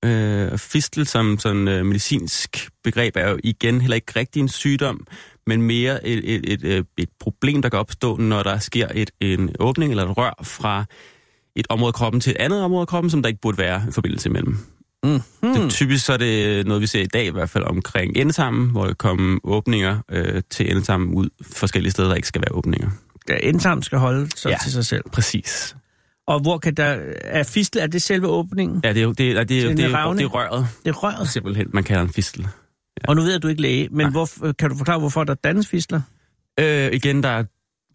S4: Øh, og fistel som sådan øh, medicinsk begreb er jo igen heller ikke rigtig en sygdom, men mere et, et, et, øh, et problem, der kan opstå, når der sker et, en åbning eller et rør fra et område af kroppen til et andet område af kroppen, som der ikke burde være en forbindelse imellem. Mhm.
S3: Mm-hmm.
S4: Det, typisk så er det noget, vi ser i dag i hvert fald omkring endetarmen, hvor der kommer åbninger øh, til endetarmen ud forskellige steder, der ikke skal være åbninger.
S3: Ja, Indtarmen skal holde sig
S4: Ja.
S3: ja. til sig selv.
S4: Præcis.
S3: Og hvor kan der... Er fistel, er det selve åbningen? Ja.
S4: Ja, det er jo det, er- det, er-
S3: Sådan en
S4: det, er-
S3: revne.
S4: det er røret.
S3: Det er røret.
S4: Simpelthen, man kalder en fistel.
S3: Og nu ved jeg, at du er ikke læge, men
S4: Nej.
S3: hvor, øh, kan du forklare, hvorfor der dannes fistler?
S4: Øh, igen, der er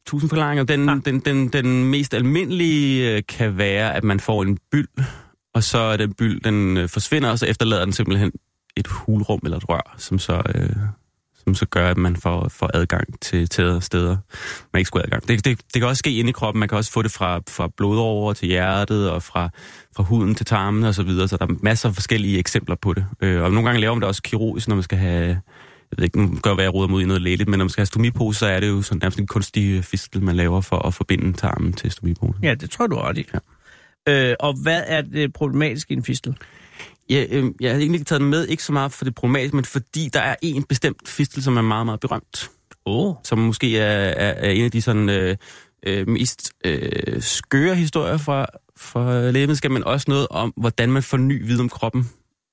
S4: tusind forklaringer. Den,
S3: Ah.
S4: den, den, den mest almindelige øh, kan være, at man får en byld, og så er den byld, den øh, forsvinder, og så efterlader den simpelthen et hulrum eller et rør, som så, øh, som så gør, at man får, får adgang til, til steder, man ikke skulle have adgang. Det, det, det kan også ske inde i kroppen. Man kan også få det fra, fra blodårer til hjertet, og fra, fra huden til tarmen og så videre. Så der er masser af forskellige eksempler på det. Øh, og nogle gange laver man det også kirurgisk, når man skal have jeg ved ikke, nu gør jeg, jeg roder mod i noget lægeligt, men når man skal have stomipose, så er det jo sådan, nærmest en kunstig øh, fistel, man laver for at forbinde tarmen til stomiposen.
S3: Ja, det tror du er ret i.
S4: Ja.
S3: Øh, og hvad er det problematiske i en fistel?
S4: Ja, øh, jeg har egentlig ikke taget den med, ikke så meget for det problematiske, men fordi der er en bestemt fistel, som er meget, meget berømt. Oh. Som måske er, er, er en af de sådan, øh, øh, mest øh, skøre historier fra, fra lægevidenskab, men også noget om, hvordan man får ny viden om kroppen.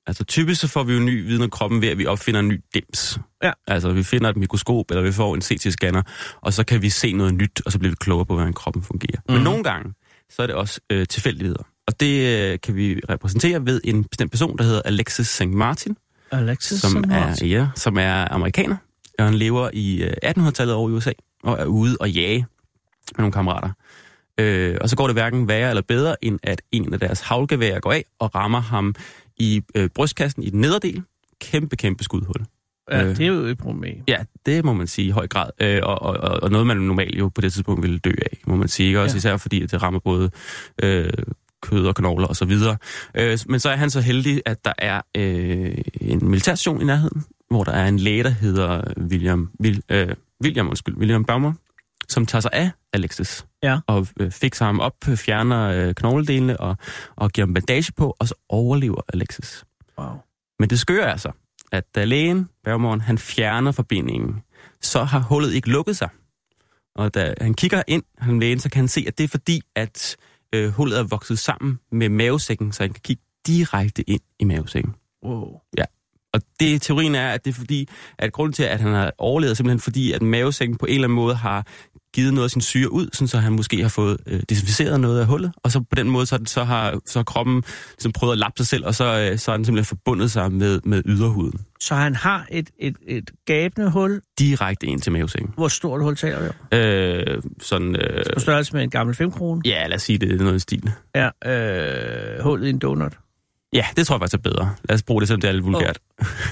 S4: Altså typisk så får vi jo ny viden om kroppen ved, at vi opfinder en ny dims.
S3: Ja.
S4: Altså vi finder et mikroskop, eller vi får en CT-scanner, og så kan vi se noget nyt, og så bliver vi klogere på, hvordan kroppen fungerer. Mm. Men
S3: Mhm.
S4: nogle gange, så er det også øh, tilfældigheder. Og det øh, kan vi repræsentere ved en bestemt person, der hedder Alexis St. Martin,
S3: Alexis
S4: som er,
S3: Martin.
S4: ja, som er amerikaner. Og han lever i øh, 1800-tallet over i USA, og er ude og jage med nogle kammerater. Øh, og så går det hverken værre eller bedre, end at en af deres havlgeværer går af og rammer ham i øh, brystkassen i den nederdel. Kæmpe, kæmpe skudhul.
S3: Ja,
S4: øh,
S3: det er jo et problem.
S4: Ja, det må man sige i høj grad. Øh, og, og, og- og noget, man normalt jo på det tidspunkt ville dø af, må man sige. Ikke? Også ja.
S3: Ja.
S4: især fordi, at det rammer både øh, kød og knogler og så videre. Øh, men så er han så heldig, at der er øh, en militærstation i nærheden, hvor der er en læge, der hedder William, Vil, øh, William, undskyld, William Baumer, som tager sig af Alexis.
S3: Ja.
S4: Og øh, fikser ham op, fjerner øh, knogledelene og, og giver ham bandage på, og så overlever Alexis.
S3: Wow.
S4: Men det skøre er så, at da lægen, Bergmoren, han fjerner forbindingen, så har hullet ikke lukket sig. Og da han kigger ind, han lægen, så kan han se, at det er fordi, at øh, hullet er vokset sammen med mavesækken, så han kan kigge direkte ind i mavesækken.
S3: wow.
S4: Og det teorien er, at det er fordi, at grunden til, at han har overlevet, er simpelthen fordi, at mavesækken på en eller anden måde har givet noget af sin syre ud, sådan så han måske har fået øh, desinficeret noget af hullet, og så på den måde, så, så har så har kroppen ligesom prøvet at lappe sig selv, og så, øh, så er den simpelthen forbundet sig med, med yderhuden.
S3: Så han har et, et, et gabende hul.
S4: Direkte ind til mavesækken.
S3: Hvor stort hul taler vi om?
S4: Øh, sådan, øh,
S3: På størrelse med en gammel 5 krone.
S4: ja, lad os sige, det er noget i stil.
S3: Ja, øh, hullet i en donut.
S4: Ja, det tror jeg faktisk er bedre. Lad os bruge det, selvom det er lidt vulgært.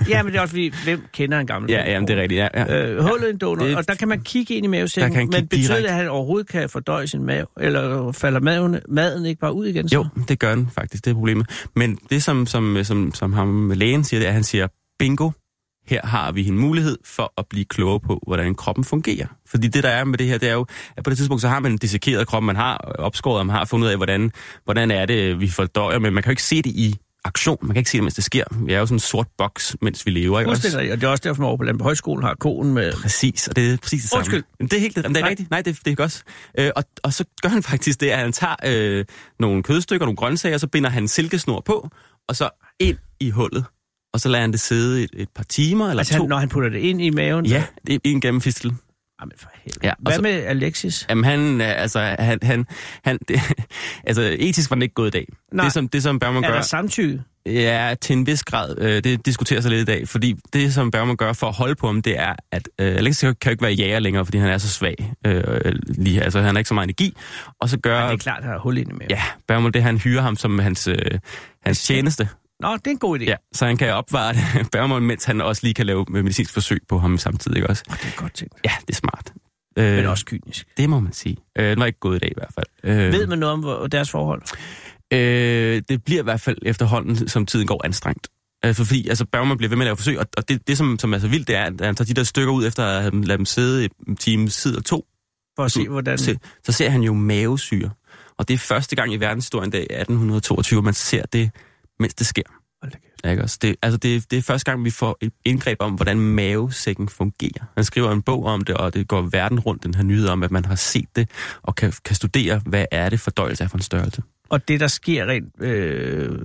S3: Ja, men det er også fordi, hvem kender en gammel
S4: Ja, ja, men det er rigtigt. Ja, ja.
S3: Øh, hullet i en donut,
S4: Det-
S3: og der kan man kigge ind i
S4: Der
S3: mavesækken,
S4: kan han
S3: men
S4: kigge
S3: betyder det,
S4: direkte.
S3: at han overhovedet kan fordøje sin mave, eller falder maven, maden ikke bare ud igen? Så?
S4: Jo, det gør den faktisk, det er problemet. Men det, som, som, som, som ham lægen siger, det er, at han siger, bingo, her har vi en mulighed for at blive klogere på, hvordan kroppen fungerer. Fordi det, der er med det her, det er jo, at på det tidspunkt, så har man dissekeret kroppen, man har opskåret, og man har fundet ud af, hvordan, hvordan er det, vi fordøjer, men man kan jo ikke se det i aktion. Man kan ikke se det, mens det sker. Vi er jo sådan en sort boks, mens vi lever. Ikke? Også,
S3: Fuldstændig, og det er også derfor, man over på Landbrug Højskolen har konen med...
S4: Præcis, og det er præcis det samme.
S3: Undskyld.
S4: Men Det er helt det, men det er
S3: Nej.
S4: rigtigt. Nej, det, det er godt. Øh, og, og så gør han faktisk det, at han tager øh, nogle kødstykker, nogle grøntsager, og så binder han en silkesnor på, og så ind i hullet. Og så lader han det sidde et, et par timer eller
S3: Altså,
S4: to.
S3: han, når han putter det ind i maven?
S4: Ja, det er en gennem fistel.
S3: Jamen, for helvede.
S4: Ja,
S3: Ja,
S4: og
S3: Hvad
S4: så-
S3: med Alexis?
S4: Jamen, han, øh, altså, han, han, han det, altså, etisk var den ikke gået i dag.
S3: Nej.
S4: Det som, det, som Bergman
S3: Er
S4: gør...
S3: der samtykke?
S4: Ja, til en vis grad. Øh, det diskuterer sig lidt i dag, fordi det, som Bergman gør for at holde på ham, det er, at øh, Alex kan jo ikke være jager længere, fordi han er så svag. Øh, lige, her. altså, han har ikke så meget energi. Og så gør
S3: Ja, det er klart, at han har hul ind i maven.
S4: ja, Bergman det, han hyrer ham som hans, øh, hans tjeneste.
S3: Nå, det er en god idé.
S4: Ja, så han kan opvare det, Bergman, mens han også lige kan lave medicinsk forsøg på ham samtidig ikke også.
S3: Åh, det er godt tænkt.
S4: Ja, det er smart. Øh,
S3: Men også kynisk.
S4: Det må man sige. Øh, den var ikke god i dag i hvert fald. Øh,
S3: Ved man noget om hvor- deres forhold?
S4: Øh, det bliver i hvert fald efterhånden, som tiden går anstrengt. Altså, fordi altså, Bergman bliver ved med at lave forsøg, og, og det, det som, som er så vildt, det er, at han tager de der stykker ud, efter at have dem- lade dem sidde en time, tid og to,
S3: For at se,
S4: Mm.
S3: hvordan...
S4: se, så ser han jo mavesyre. Og det er første gang i verdenshistorien, dag 1822, man ser det, mens det sker.
S3: Hold da kæft.
S4: Ikke også? Det, altså det, det er første gang, vi får et indgreb om, hvordan mavesækken fungerer. Han skriver en bog om det, og det går verden rundt, den her nyhed om, at man har set det, og kan, kan studere, hvad er det fordøjelse er for en størrelse.
S3: Og det, der sker rent øh,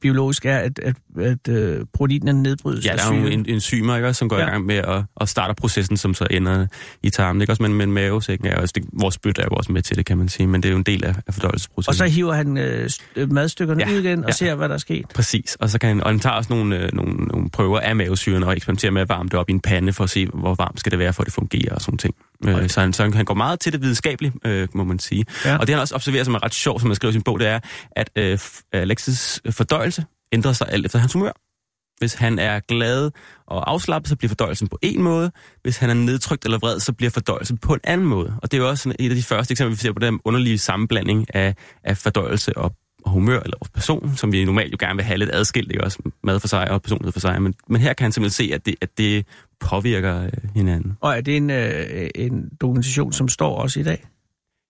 S3: biologisk, er, at, at, at øh, proteinerne nedbrydes.
S4: Ja,
S3: af
S4: der er jo
S3: syren.
S4: en, enzymer, ikke, også, som går ja.
S3: Ja.
S4: i gang med at, at starte processen, som så ender i tarmen. Ikke? Også, men, men mavesækken er jo også, det, vores bødt er jo også med til det, kan man sige, men det er jo en del af, af fordøjelsesprocessen.
S3: Og så hiver han øh, st- øh, madstykkerne
S4: Ja,
S3: ja, ud igen og
S4: ja.
S3: ja. ser, hvad der er sket.
S4: Præcis, og så kan han, og han tager også nogle, øh, nogle, nogle prøver af mavesyren og eksperimenterer med at varme det op i en pande for at se, hvor varmt skal det være, for at det fungerer og sådan ting. Øh, så han, så han, han går meget til det videnskabelige, øh, må man sige. Ja.
S3: Ja.
S4: Og det han også observerer, som er ret sjovt, som han skriver i sin bog, det er, at øh, f- Alexis øh, fordøjelse ændrer sig alt efter hans humør. Hvis han er glad og afslappet, så bliver fordøjelsen på en måde. Hvis han er nedtrykt eller vred, så bliver fordøjelsen på en anden måde. Og det er jo også sådan et af de første eksempler, vi ser på den underlige sammenblanding af, af fordøjelse og, og humør eller og person, som vi normalt jo gerne vil have lidt adskilt, ikke også mad for sig og personlighed for sig. Men, men her kan han simpelthen se, at det, at det påvirker øh, hinanden.
S3: Og er det en, øh, en dokumentation, som står også i dag?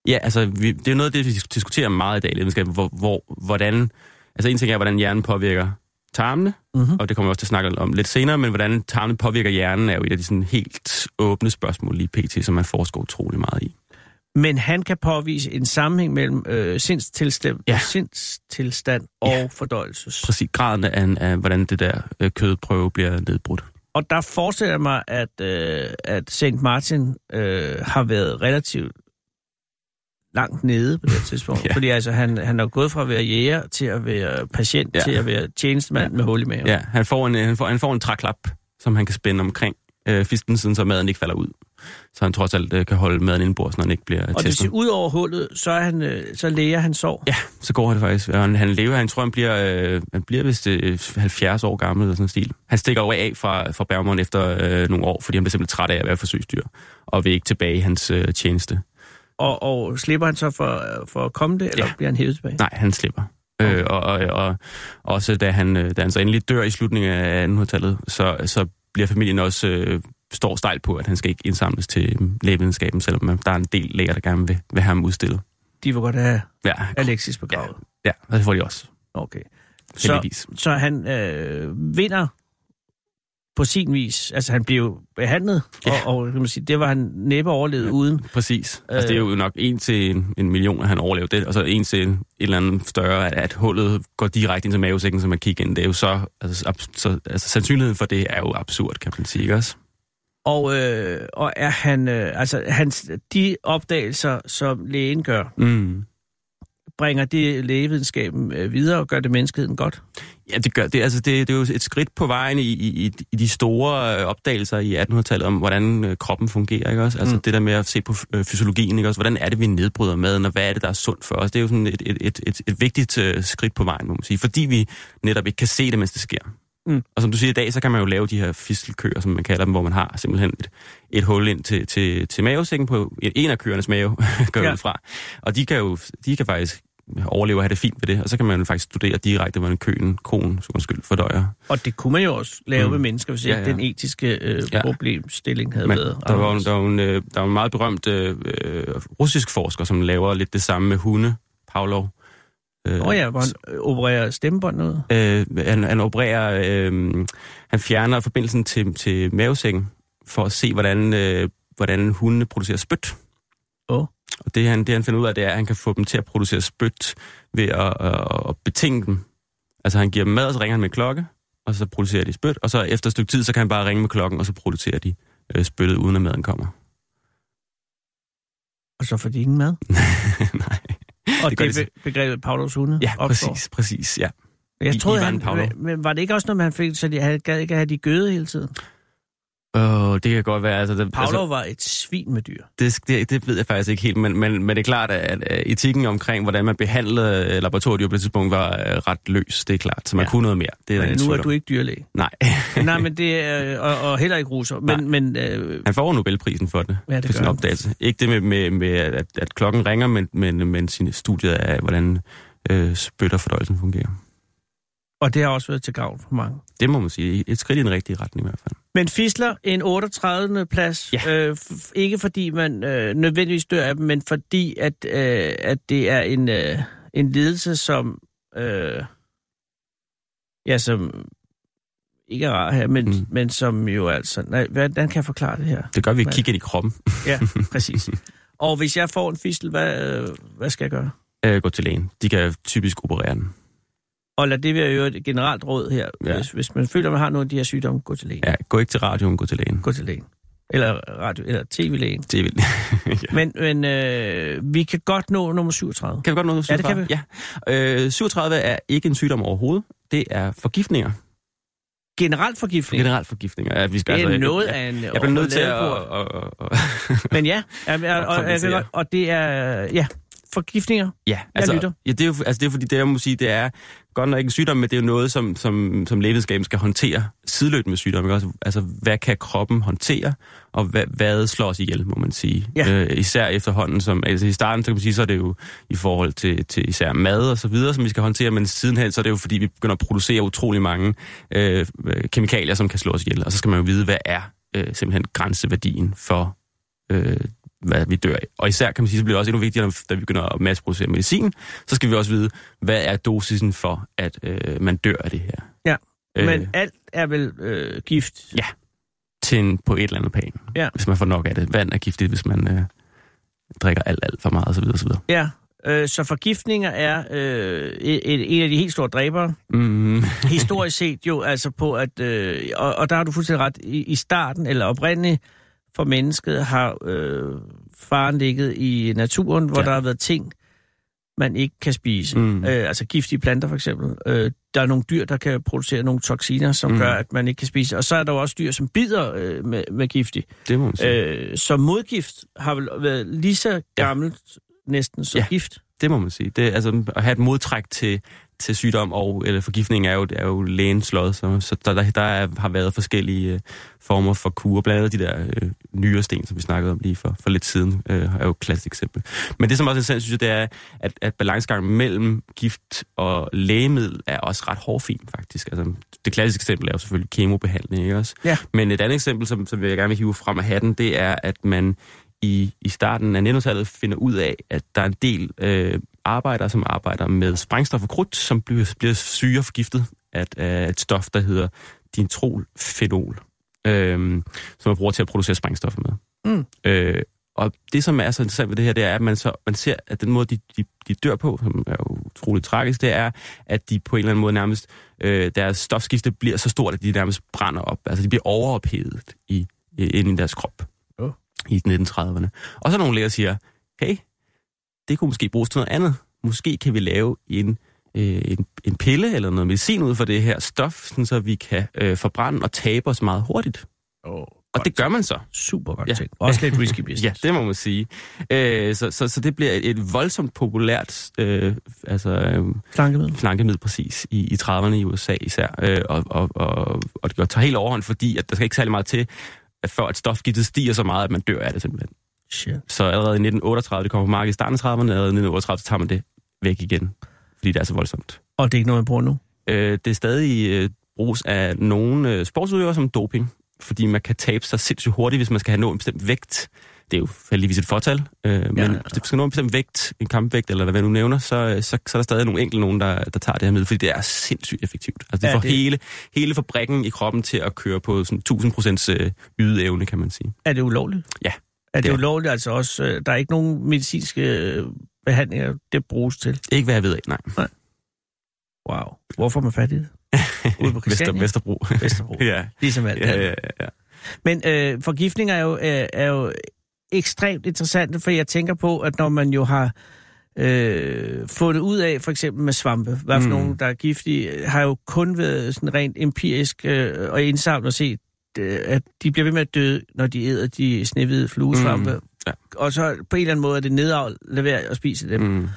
S4: Ja, altså, vi, det er jo noget af det, vi dis- diskuterer meget i dag i videnskab, hvor, hvor, hvordan... Altså, en ting er, hvordan hjernen påvirker tarmene,
S3: Mm-hmm.
S4: og det kommer vi også til at snakke om lidt senere, men hvordan tarmene påvirker hjernen, er jo et af de sådan helt åbne spørgsmål lige pt., som man forsker utrolig meget i.
S3: Men han kan påvise en sammenhæng mellem øh, sindstilstand,
S4: Ja.
S3: ja. sindstilstand og
S4: Ja.
S3: ja. fordøjelses.
S4: Præcis graden af, af hvordan det der øh, kødprøve bliver nedbrudt.
S3: Og der forestiller jeg mig, at, øh, at St. Martin øh, har været relativt langt nede på det her tidspunkt.
S4: Ja.
S3: ja. Fordi altså, han, han er gået fra at være jæger til at være patient,
S4: Ja.
S3: ja. til at være tjenestemand ja. med hul i maven.
S4: Ja, han får en, han får, han får en træklap, som han kan spænde omkring øh, fisten, siden så maden ikke falder ud. Så han trods alt øh, kan holde maden indenbords, når den ikke bliver
S3: Og det
S4: testet.
S3: ser ud over hullet, så, er han, øh, så læger han sår.
S4: Ja, så går han faktisk. Og Han, han lever, han tror, han bliver, øh, han bliver vist øh, 70 år gammel eller sådan en stil. Han stikker over af fra, fra Bergman efter øh, nogle år, fordi han bliver simpelthen træt af at være forsøgsdyr, og vil ikke tilbage i hans øh, tjeneste.
S3: Og, og slipper han så for, for at komme det, eller
S4: Ja.
S3: ja. bliver han hævet tilbage?
S4: Nej, han slipper. Okay. Øh, og, og, og også da han, øh, da han så endelig dør i slutningen af 1800-tallet, så, så bliver familien også øh, står stejl på, at han skal ikke indsamles til øh, lægevidenskaben, selvom øh, der er en del læger, der gerne vil, vil have ham udstillet.
S3: De vil godt have
S4: Ja,
S3: Alexis begravet. Ja.
S4: ja, og det får de også,
S3: Okay. Så,
S4: heldigvis. Så...
S3: så han øh, vinder på sin vis. Altså, han blev jo behandlet,
S4: Ja.
S3: ja. og, og kan man sige, det var han næppe overlevet ja. uden.
S4: Præcis. Altså, det er jo nok en til en, en million, at han overlever det, og så en til en eller anden større, at, at hullet går direkte ind til mavesækken, som man kigger ind. Det er jo så, altså, abs- så altså, sandsynligheden for det er jo absurd, kan man sige, ikke også?
S3: Og, øh, og er han, øh, altså, hans, de opdagelser, som lægen gør,
S4: Mm.
S3: bringer det lægevidenskaben øh, videre og gør det menneskeheden godt?
S4: Ja, det gør det. Altså, det, det er jo et skridt på vejen i, i, i- i de store øh, opdagelser i 1800-tallet om, hvordan øh, kroppen fungerer, ikke også? Altså
S3: Mm.
S4: det der med at se på øh, fysiologien, ikke også? Hvordan er det, vi nedbryder maden, og hvad er det, der er sundt for os? Det er jo sådan et, et, et, et, et vigtigt øh, skridt på vejen, må man sige. Fordi vi netop ikke kan se det, mens det sker.
S3: Mm.
S4: Og som du siger i dag, så kan man jo lave de her fistelkøer, som man kalder dem, hvor man har simpelthen et, et hul ind til, til, til mavesækken på en af køernes mave, går
S3: Ja.
S4: ja. fra. Og de kan jo de kan faktisk overleve og have det fint med det, og så kan man jo faktisk studere direkte, hvordan køen, konen, så undskyld, fordøjer.
S3: Og det kunne man jo også lave mm.
S4: Mm.
S3: med mennesker, hvis
S4: Ja,
S3: ikke
S4: ja.
S3: den etiske øh, ja.
S4: Ja.
S3: problemstilling havde
S4: Men
S3: været.
S4: der var, jo-
S3: anderledes.
S4: der, var en, øh, der var en meget berømt øh, øh, russisk forsker, som laver lidt det samme med hunde, Pavlov. Øh,
S3: Nå ja, hvor han øh, opererer stemmebånd ud.
S4: Øh, han, han opererer, øh, han fjerner forbindelsen til, til mavesækken, for at se, hvordan, øh, hvordan hundene producerer spyt.
S3: Åh.
S4: Og det han, det, han finder ud af, det er, at han kan få dem til at producere spyt ved at, at, at betinge dem. Altså han giver dem mad, og så ringer han med en klokke, og så producerer de spyt. Og så efter et stykke tid, så kan han bare ringe med klokken, og så producerer de øh, spyttet, uden at maden kommer.
S3: Og så får de ingen mad.
S4: Nej.
S3: Og det,
S4: Det gør
S3: det
S4: de
S3: be- begrebet Paulus hunde
S4: Ja,
S3: opstår.
S4: præcis, præcis, ja. I-
S3: Jeg troede,
S4: Ivan
S3: han,
S4: Pavlov.
S3: men var det ikke også noget, med, han fik, så de havde, gad ikke at have de gøde hele tiden?
S4: Åh, det kan godt være. Altså, det,
S3: Paulov altså, var et svin med dyr.
S4: det, det, det ved jeg faktisk ikke helt, men, men, men det er klart, at, at etikken omkring, hvordan man behandlede øh, laboratoriet på det tidspunkt, var øh, ret løs, det er klart. Så man
S3: Ja.
S4: ja. kunne noget mere. Det er der
S3: Men
S4: ingen
S3: nu
S4: tvivl
S3: er
S4: om.
S3: du ikke dyrlæge.
S4: Nej,
S3: Nej, men det er, øh, og, og heller ikke russer. Men, men øh,
S4: han får jo Nobelprisen for det.
S3: Ja, det gør
S4: for sin
S3: han.
S4: opdagelse. Ikke det med, med, med at, at klokken ringer, men, men, men sin studiet af, hvordan øh, spytterfordøjelsen fungerer.
S3: og det har også været til gavn for mange.
S4: Det må man sige. Et skridt i den rigtige retning i hvert fald.
S3: Men Fisler, en 38. plads,
S4: Ja.
S3: øh, f- ikke fordi man øh, nødvendigvis dør af dem, men fordi at, øh, at det er en, øh, en lidelse, som, øh, ja, som ikke er rar her, men, mm.
S4: Mm.
S3: men som jo altså, nej, hvordan kan jeg forklare det her?
S4: Det gør, at vi
S3: Ja.
S4: kigger ind i kroppen.
S3: Ja, præcis. Og hvis jeg får en fistel, hvad, øh, hvad skal jeg gøre?
S4: Øh, gå til lægen. De kan typisk operere den.
S3: Og lad det være jo et generelt råd her. Ja.
S4: Ja.
S3: Hvis, hvis man føler, man har nogle af de her sygdomme, gå til lægen. Ja.
S4: Ja, gå ikke til radioen, gå til lægen.
S3: Gå til lægen. Eller, radio, eller tv-lægen.
S4: Det er vildt. ja.
S3: Men, men øh, vi kan godt nå nummer 37.
S4: Kan vi godt nå 37?
S3: Ja, det kan vi.
S4: Ja. Øh, 37 er ikke en sygdom overhovedet. Det er forgiftninger.
S3: Generelt forgiftning. Generelt.
S4: Generelt forgiftninger. Ja, vi skal
S3: Det er
S4: altså,
S3: noget
S4: jeg, jeg,
S3: af en...
S4: jeg bliver nødt til at...
S3: overladet
S4: Og, og, og,
S3: bord. Men ja, ja, ja, og, og, jeg kan
S4: kompensere.
S3: godt- og det er... Ja, forgiftninger.
S4: ja, altså,
S3: lytter.
S4: Ja, det er jo, altså, det er fordi, det er, må sige, det er godt nok ikke en sygdom, men det er jo noget, som, som, som lægevidenskaben skal håndtere sideløbende med sygdomme. Ikke? Også, altså, hvad kan kroppen håndtere, og hvad, hvad slår os ihjel, må man sige.
S3: Ja.
S4: Øh, især efterhånden, som, altså i starten, så kan man sige, så er det jo i forhold til, til især mad og så videre, som vi skal håndtere, men sidenhen, så er det jo fordi, vi begynder at producere utrolig mange øh, øh, kemikalier, som kan slå os ihjel. Og så skal man jo vide, hvad er øh, simpelthen grænseværdien for, øh, hvad vi dør af. Og især kan man sige, så bliver det også endnu vigtigere, når- da vi begynder at masseproducere medicin, så skal vi også vide, hvad er dosisen for, at øh, man dør af det her.
S3: Ja,
S4: Øh,
S3: Men alt er vel øh, gift.
S4: Ja. til en, på et eller andet plan.
S3: Ja.
S4: Hvis man får nok af det. Vand er giftigt, hvis man øh, drikker alt, alt for meget osv. osv.
S3: Ja. Øh, så forgiftninger er øh, et, en af de helt store dræbere.
S4: Mm,
S3: historisk set jo altså på, at... Øh, og, og der har du fuldstændig ret. I, i starten, eller oprindeligt for mennesket, har øh, faren ligget i naturen, hvor ja.
S4: Ja.
S3: der har været ting, man ikke kan spise. Mm.
S4: Mm.
S3: Øh, altså giftige planter for eksempel. Øh, der er nogle dyr, der kan producere nogle toksiner, som mm.
S4: Mm.
S3: gør, at man ikke kan spise. Og så er der jo også dyr, som bider øh, med, med giftig.
S4: det må man sige. Øh,
S3: Øh, så modgift har vel været lige så gammelt næsten som ja.
S4: Ja.
S3: gift.
S4: det må man sige. Det, altså, at have et modtræk til, til sygdom og eller forgiftning er jo, er jo lægens lod, så, så der, der, der er, har været forskellige øh, former for kurer, blandt andet de der øh, nyere sten, som vi snakkede om lige for, for lidt siden, øh, er jo et klassisk eksempel. Men det, som også er interessant, synes jeg, det er, at, at balancegangen mellem gift og lægemiddel er også ret hårdfin, faktisk. Altså, det klassiske eksempel er jo selvfølgelig kemobehandling, ikke også?
S3: Ja.
S4: Men et andet eksempel, som, som jeg gerne vil hive frem af hatten, det er, at man i, i starten af 1900-tallet finder ud af, at der er en del øh, arbejdere, som arbejder med sprængstof og krudt, som bliver, bliver syge og forgiftet af et, af et stof, der hedder dintrolfenol, øh, som man bruger til at producere sprængstoffer med.
S3: Mm.
S4: Øh, og det, som er så interessant ved det her, det er, at man, så, man ser, at den måde, de, de, de dør på, som er jo utroligt tragisk, det er, at de på en eller anden måde nærmest, øh, deres stofskifte bliver så stort, at de nærmest brænder op. Altså, de bliver overophedet i øh, inde i deres krop
S3: Åh.
S4: i 1930'erne. Og så er nogle læger der siger, hey, det kunne måske bruges til noget andet. Måske kan vi lave en, øh, en, en pille eller noget medicin ud for det her stof, sådan så vi kan øh, forbrænde og tabe os meget hurtigt.
S3: Oh,
S4: Og det gør man så.
S3: Super godt ja.
S4: Ja.
S3: ting. Også lidt risky business.
S4: Ja, det må man sige. Øh, så, så, så det bliver et, et voldsomt populært øh, altså, øh,
S3: Slankemiddel.
S4: flankemiddel præcis i, i 30'erne i USA især, øh, og, og, og, og det tager helt overhånd, fordi at der skal ikke særlig meget til, at før at stofgiftet stiger så meget, at man dør af det simpelthen.
S3: Shit.
S4: Så allerede i 1938, det kommer på markedet i starten af 30'erne, allerede i 1938 tager man det væk igen, fordi det er så voldsomt.
S3: Og det er ikke noget, man bruger nu.
S4: Øh, det er stadig øh, bruges af nogle øh, sportsudøvere som doping, fordi man kan tabe sig sindssygt hurtigt, hvis man skal have nået en bestemt vægt. Det er jo heldigvis et fortal, øh, ja, men
S3: ja,
S4: ja,
S3: ja.
S4: hvis du skal nå en bestemt vægt, en kampvægt eller hvad, hvad du nævner, så, øh, så, så er der stadig nogle enkelte nogen, der, der tager det her med, fordi det er sindssygt effektivt. Altså det
S3: Ja,
S4: ja, får
S3: det-
S4: det... Hele, hele fabrikken i kroppen til at køre på sådan 1000% øh, ydeevne, kan man sige.
S3: Er det ulovligt?
S4: Ja,
S3: Er det,
S4: det er.
S3: ulovligt altså også? øh, Der er ikke nogen medicinske øh, behandlinger, det bruges til.
S4: Ikke hvad jeg ved af, nej.
S3: Wow. Hvorfor er man fat i det? Ude på
S4: Vester,
S3: Christiania?
S4: Vesterbro.
S3: Vesterbro.
S4: ja.
S3: Ligesom alt
S4: Ja,
S3: andet.
S4: ja, ja.
S3: Men øh, forgiftninger er jo, øh, er jo ekstremt interessante, for jeg tænker på, at når man jo har øh, fundet ud af, for eksempel med svampe, hvad for mm.
S4: Mm.
S3: nogle, der er giftige, øh, har jo kun været sådan rent empirisk øh, og indsamlet og set, øh, at de bliver ved med at dø, når de æder de snehvide fluesvampe. Mm.
S4: Mm, ja.
S3: Og så på en eller anden måde er det nedavl, lad være at spise dem.
S4: Mm.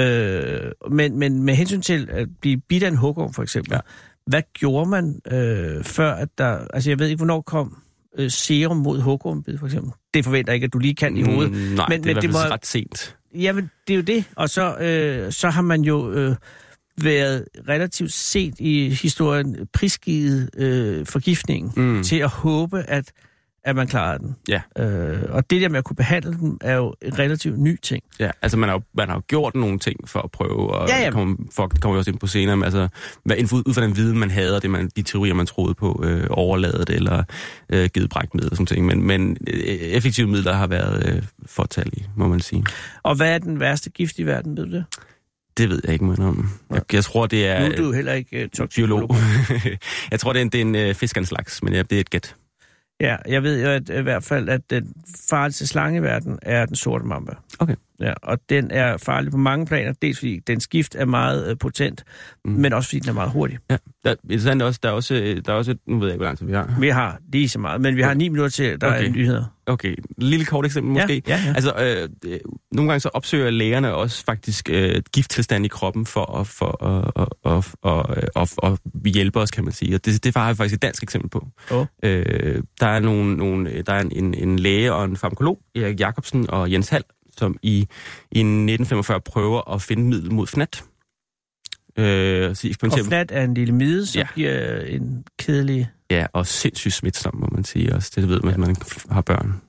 S3: Øh, men, men med hensyn til at blive bidt af en hugorm, for eksempel, ja.
S4: Ja.
S3: hvad gjorde man øh, før, at der... Altså, jeg ved ikke, hvornår kom øh, serum mod hugormbid, for eksempel. Det forventer jeg ikke, at du lige kan i hovedet.
S4: Mm, nej,
S3: Men-
S4: men, det
S3: men
S4: er men i
S3: det
S4: hvert fald
S3: må-
S4: ret sent.
S3: Jamen, det er jo det. Og så, øh, så har man jo øh, været relativt set i historien prisgivet øh, forgiftningen
S4: Mm.
S3: til at håbe, at, at man klarer den.
S4: Ja.
S3: Øh, og det der med at kunne behandle den, er jo en relativt ny ting.
S4: Ja, altså man har, jo- man har jo gjort nogle ting for at prøve, og
S3: Ja, ja.
S4: ja, ja. Det, kommer, for, det kommer vi også ind på senere, men altså hvad, inden for- ud fra den viden, man havde, og det, man, de teorier, man troede på, øh, overladet eller øh, gedebrægt middel og sådan ting, men, men øh, effektive midler har været øh, fortalige, må man sige.
S3: Og hvad er den værste gift i verden, ved du det?
S4: Det ved jeg ikke mere om. Jeg, jeg tror, det
S3: Nu
S4: er
S3: er du jo heller ikke uh,
S4: øh,
S3: toksikolog.
S4: biolog. jeg tror, det er en, det er en øh, fisk af en slags, men ja, det er et gæt.
S3: Ja, jeg ved jo at, øh, i hvert fald, at den farligste slange i verden er den sorte mamba.
S4: Okay.
S3: Ja, og den er farlig på mange planer, dels fordi dens gift er meget uh, potent, mm.
S4: Mm.
S3: men også fordi den er meget hurtig.
S4: Ja. Der, interessant også, der er også, øh, der er også, et- nu ved jeg ikke, hvor lang tid vi har.
S3: Vi har lige så meget, men vi har ni minutter til, at der okay.
S4: Okay.
S3: er nyheder.
S4: Okay, lille kort eksempel måske.
S3: Ja, ja, ja.
S4: Altså, øh, øh, nogle gange så opsøger lægerne også faktisk øh, gifttilstand i kroppen for at for, at- at- at- at- at- at hjælpe os, kan man sige. Og det, det har jeg faktisk et dansk eksempel på.
S3: Åh.
S4: Øh, der er, nogle, nogle, øh, der er en- en, en læge og en farmakolog, Erik Jacobsen og Jens Hall, som i, i 1945 prøver at finde middel mod fnat. Øh, så
S3: Og
S4: eksperimenterer
S3: fnat er en lille mide, som ja.
S4: Ja.
S3: giver øh, en kedelig...
S4: Ja, og sindssygt smitsom, må man sige også. Det ved man, ja. man har børn.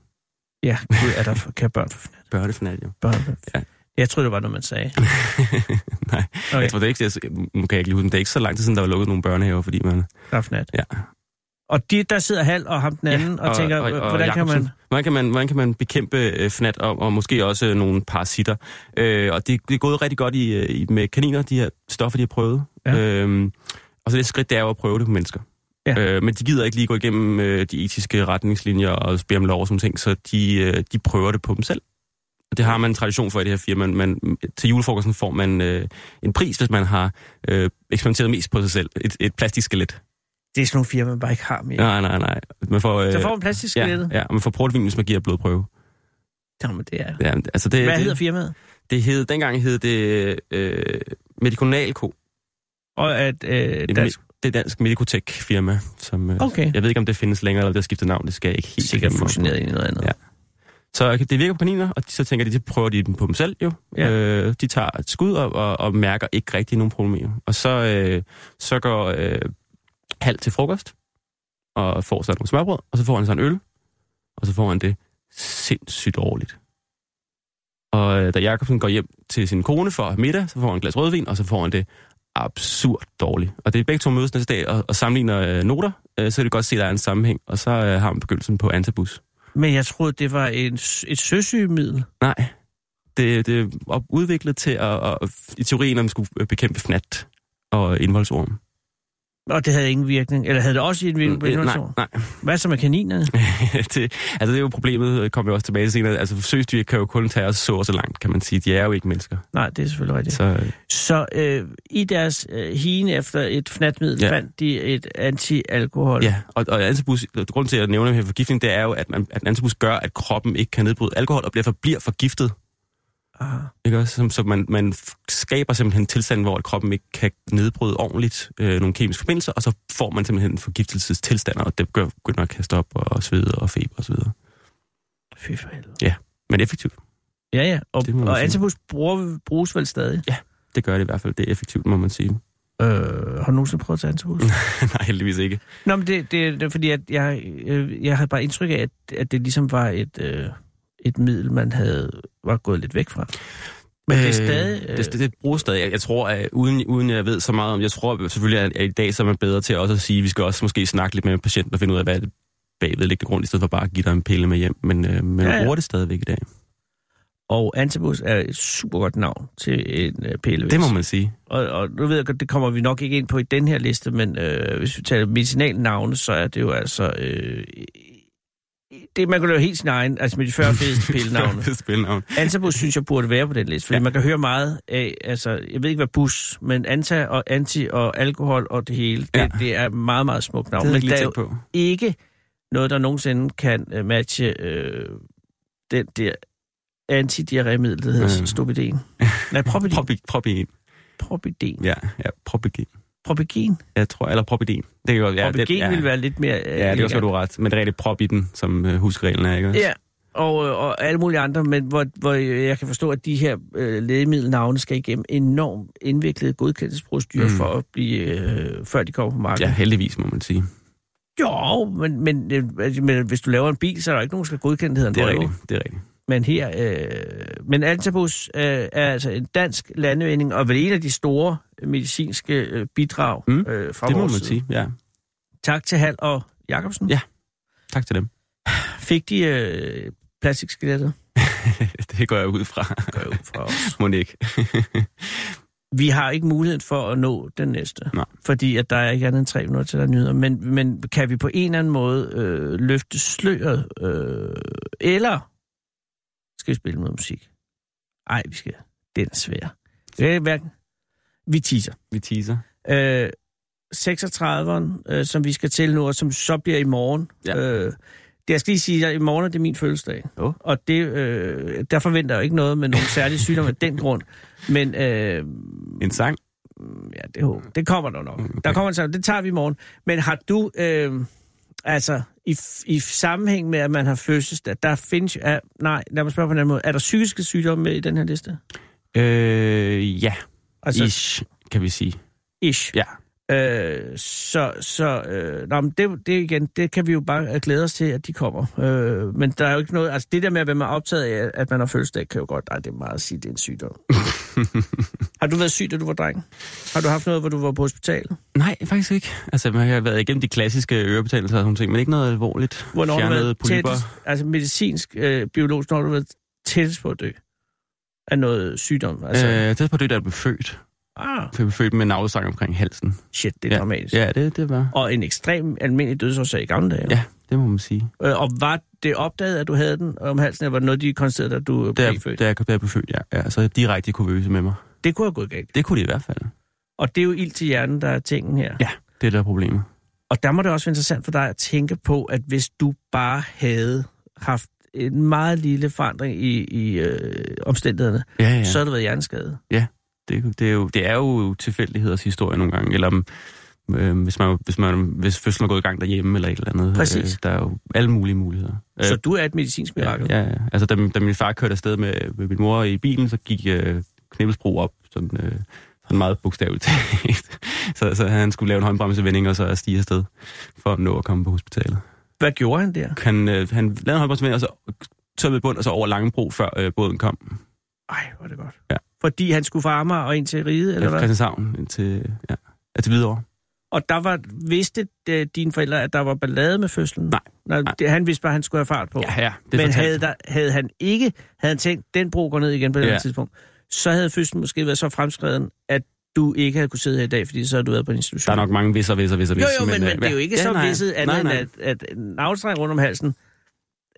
S3: Ja, gud, er der for, kan børn få fnat?
S4: Børnefnat, jo.
S3: Børn for
S4: Ja.
S3: fnat. Jeg tror det var noget, man sagde.
S4: Nej,
S3: Okay.
S4: okay. jeg tror det er ikke, jeg, nu kan jeg ikke lige huske, men det er ikke så lang tid siden, der var lukket nogle børnehaver, fordi man...
S3: Der er fnat.
S4: Ja.
S3: Og de, der sidder halv og ham den anden, og, og tænker, hvordan kan man...
S4: Jacobsen. Hvordan kan man, hvordan kan man bekæmpe øh, fnat og, og måske også øh, nogle parasitter? Øh, og det, det er gået rigtig godt i, øh, i, med kaniner, de her stoffer, de har prøvet.
S3: Ja.
S4: Ja. Øhm, og så det skridt, det er jo at prøve det på mennesker.
S3: Ja.
S4: Ja. Øh, men de gider ikke lige gå igennem øh, de etiske retningslinjer og spørge om lov og sådan ting, så de, øh, de prøver det på dem selv. Og Det har man en tradition for i det her firma. Man, til julefrokosten får man øh, en pris, hvis man har øh, eksperimenteret mest på sig selv. Et, et plastikskelet.
S3: Det er sådan nogle firmaer, man bare ikke har mere.
S4: Nej, nej, nej. Man får, øh,
S3: Så får man plastisk ja,
S4: ja, ja, og man får portvin, hvis man giver blodprøve.
S3: Jamen, det er...
S4: Ja, altså det,
S3: Hvad
S4: det,
S3: hedder firmaet?
S4: Det hed, dengang hed det øh, Medikonalko.
S3: Og at øh,
S4: Et
S3: dansk...
S4: Me, det er dansk medikotek-firma. Som, øh,
S3: Okay.
S4: Jeg ved ikke, om det findes længere, eller om det har skiftet navn. Det skal jeg ikke helt
S3: Sikkert
S4: mig på.
S3: fusioneret ind i noget andet.
S4: Ja. Så øh, det virker på kaniner, og de, så tænker de, det prøver de dem på dem selv jo.
S3: Ja.
S4: Ja. Øh, de tager et skud og, og, og mærker ikke rigtig nogen problemer. Og så, øh, så går øh, halv til frokost, og får sig nogle smørbrød, og så får han sig en øl, og så får han det sindssygt dårligt. Og øh, da Jacobsen går hjem til sin kone for at have middag, så får han et glas rødvin, og så får han det absurd dårligt. Og det er begge to mødes næste dag og, og sammenligner øh, noter, øh, så kan du godt se, at der er en sammenhæng, og så øh, har man begyndelsen på antabus.
S3: Men jeg troede, det var en, s- et søsygemiddel.
S4: Nej. Det, det er op- udviklet til at, at, i teorien, om man skulle bekæmpe fnat og indholdsorm.
S3: Og det havde ingen virkning. Eller havde det også en virkning på
S4: Øh, nej,
S3: indholdsår?
S4: nej.
S3: Hvad så med kaninerne?
S4: det, altså det er jo problemet, øh, kommer vi også tilbage til senere. Altså forsøgsdyr kan jo kun tage os så og så langt, kan man sige. De er jo ikke mennesker.
S3: Nej, det er selvfølgelig rigtigt.
S4: Så øh,
S3: Så øh, i deres øh, hine efter et fnatmiddel ja.
S4: Ja.
S3: fandt de et antialkohol.
S4: ja, og, og antibus, grunden til at nævne den her forgiftning, det er jo, at, man, at antibus gør, at kroppen ikke kan nedbryde alkohol og bliver, bliver forgiftet.
S3: Ah,
S4: Ikke også? Som- Så man, man f- skaber simpelthen en tilstand, hvor at kroppen ikke kan nedbryde ordentligt øh, nogle kemiske forbindelser, og så får man simpelthen en forgiftelsestilstand, og det gør- begynder at kaste op og, og svede og feber og så videre.
S3: fy for helvede.
S4: Men effektivt,
S3: Ja, ja. Og,
S4: Det må man
S3: og
S4: sige.
S3: antibus bruger, bruges vel stadig?
S4: det gør det i hvert fald. Det er effektivt, må man sige.
S3: Øh, har du nogensinde prøvet at tage antibus?
S4: Nej, heldigvis ikke.
S3: Nå, men det, det, det er fordi, at jeg, øh, jeg havde bare indtryk af, at, at det ligesom var et, øh, et middel, man havde var gået lidt væk fra. Men det er stadig... Øh,
S4: Øh... Det, det bruges stadig. Jeg, jeg tror, at uden, uden jeg ved så meget om jeg tror selvfølgelig, at, at i dag så er man bedre til også at sige, at vi skal også måske snakke lidt med patienten og finde ud af, hvad er det bagvedliggende grund, i stedet for bare at give dig en pille med hjem. Men, øh, men ja,
S3: Ja, ja.
S4: ja. bruger det stadigvæk i dag.
S3: Og antibus er et super godt navn til en øh, PLV.
S4: Det må man sige.
S3: Og, og nu ved jeg godt, det kommer vi nok ikke ind på i den her liste, men øh, hvis vi taler medicinalnavne, så er det jo altså... Øh, det, man kan lave helt sin egen, altså med de 40 fedeste pillenavne.
S4: Spilnavn.
S3: Antabus synes jeg burde være på den liste, fordi ja.
S4: Ja.
S3: man kan høre meget af, altså jeg ved ikke hvad bus, men anta og anti og alkohol og det hele, det, ja.
S4: Ja.
S3: det er meget, meget smukt navn.
S4: Det er
S3: Men
S4: ikke
S3: der
S4: lige
S3: er
S4: tæt
S3: jo
S4: på.
S3: ikke noget, der nogensinde kan øh, matche øh, den der antidiarremiddel, der hedder
S4: Mm.
S3: mm. stupiden. Nej, propidin.
S4: Propi- Propidin.
S3: propidin.
S4: Ja, ja, propidin.
S3: Propigin.
S4: Jeg tror, eller propidin. Det kan godt, ja,
S3: Propigin
S4: det, ja,
S3: vil være lidt mere... øh,
S4: Ja, det er også, hvor du har ret. Men det er rigtig prop i den, som øh, huskreglen er, ikke også?
S3: Ja, og, øh, og alle mulige andre, men hvor, hvor jeg kan forstå, at de her øh, lægemiddelnavne skal igennem enormt indviklede godkendelsesprocedurer mm.
S4: Mm.
S3: for at blive, øh, før de kommer på markedet.
S4: ja,
S3: Ja.
S4: heldigvis, må man sige.
S3: Jo, men, men, øh, altså, men hvis du laver en bil, så er der ikke nogen, der skal godkende, det hedder en
S4: Det er
S3: Volvo.
S4: rigtigt, det er rigtigt.
S3: Men her, øh, men Antabus øh, er altså en dansk landvinding, og vel en af de store medicinske øh, bidrag
S4: Mm.
S3: øh, fra
S4: Det må
S3: vores
S4: man
S3: side.
S4: sige, ja.
S3: Tak til Hal og Jacobsen.
S4: Ja. Tak til dem.
S3: Fik de øh, plastikskelettet?
S4: det går jeg ud fra,
S3: Gør jeg ud fra os.
S4: Monique.
S3: vi har ikke muligheden for at nå den næste.
S4: Nej.
S3: Fordi at der er ikke andet end tre minutter til der er nyheder. Men, men kan vi på en eller anden måde øh, løfte sløret? Øh, eller skal vi spille noget musik? Nej, vi skal. Den er svær. Det er hverken. Vi teaser.
S4: Vi teaser.
S3: Øh, 36'eren, øh, som vi skal til nu, og som så bliver i morgen.
S4: Ja.
S3: Øh, det, jeg skal lige sige, at i morgen er det min fødselsdag.
S4: Åh.
S3: Og det, øh, der forventer jeg jo ikke noget med nogle særlige sygdomme af den grund. Men øh,
S4: En sang?
S3: ja, det, håber- det kommer der nok. Okay.
S4: Mm. Okay.
S3: Der kommer en sang, det tager vi i morgen. Men har du, øh, altså i, i sammenhæng med, at man har fødselsdag, der findes, er, nej, lad mig spørge på en anden måde, er der psykiske sygdomme med i den her liste?
S4: Øh, ja.
S3: Altså,
S4: Ish, kan vi sige.
S3: ish.
S4: Ja.
S3: Øh, så, så øh, nå, men det, det igen, det kan vi jo bare øh, glæde os til, at de kommer. Øh, men der er jo ikke noget, altså det der med, at være man er optaget af, at man har fødselsdag, kan jo godt, nej, det er meget at sige, det er en sygdom. har du været syg, da du var dreng? Har du haft noget, hvor du var på hospitalet?
S4: Nej, faktisk ikke. Altså, man har været igennem de klassiske ørebetændelser og sådan nogle ting, men ikke noget alvorligt.
S3: Hvornår har du
S4: Fjernede
S3: været
S4: polypper.
S3: tættest, altså medicinsk, øh, biologisk, når har du været tættest på at dø af noget sygdom? Altså, øh.
S4: Øh, tæt på det, da jeg blev født.
S3: ah,
S4: Jeg blev født med en navlesang omkring halsen.
S3: shit, det er ja. dramatisk.
S4: Ja, det, det var.
S3: Og en ekstrem almindelig dødsårsag i gamle dage.
S4: Ja, det må man sige.
S3: Øh, og var det opdaget, at du havde den om halsen, eller var det noget, de konstaterede, at du øh,
S4: Da
S3: blev
S4: jeg,
S3: født?
S4: da jeg, da jeg blev født, ja. ja. Så direkte kuvøse med mig.
S3: Det kunne have gået galt.
S4: Det kunne det i hvert fald.
S3: Og det er jo ild til hjernen, der er tingen her.
S4: Ja, det er der er problemet.
S3: Og der må det også være interessant for dig at tænke på, at hvis du bare havde haft en meget lille forandring i, i øh, omstændighederne,
S4: Ja, ja.
S3: ja. så
S4: Så...
S3: havde du været hjerneskade.
S4: Det, det, er jo, det er jo tilfældigheders historie nogle gange, eller om, øh, hvis, man, hvis, man, hvis fødslen er gået i gang derhjemme eller et eller andet.
S3: Præcis.
S4: Øh, der er jo alle mulige muligheder.
S3: Øh. Så du er et medicinsk mirakel.
S4: Ja, ja, ja. Altså, da, min- da min far kørte afsted med, med min mor i bilen, så gik øh, Knibbelsbro op, sådan, øh, sådan meget bogstaveligt talt. så, så han skulle lave en håndbremsevending og så stige afsted, for at nå at komme på hospitalet.
S3: Hvad gjorde han der?
S4: Han, øh, han lavede en håndbremsevending, og så tømmede bund, og så over Langebro, før øh, båden kom.
S3: Ej, hvor er det godt.
S4: Ja.
S3: Fordi han skulle fra Amager og ind til Ride, eller
S4: Eller
S3: hvad?
S4: Christianshavn indtil, ja, ja, til Hvidovre.
S3: Og der var, vidste øh, dine forældre, at der var ballade med fødslen?
S4: Nej.
S3: Nej,
S4: Nej.
S3: Det, han vidste bare, at han skulle have fart på.
S4: Ja, ja, det
S3: Det men
S4: fortalte
S3: havde, der, havde han ikke havde han tænkt, den bro går ned igen på det
S4: Ja.
S3: ja. tidspunkt, så havde fødslen måske været så fremskreden, at du ikke havde kunne sidde her i dag, fordi så havde du været på en institution.
S4: Der er nok mange visser, visser, visser,
S3: Jo,
S4: visser.
S3: jo, men, men,
S4: øh,
S3: det er jo ikke
S4: ja,
S3: så
S4: nej.
S3: visset andet,
S4: Nej, nej.
S3: end at, at en navlstreng rundt om halsen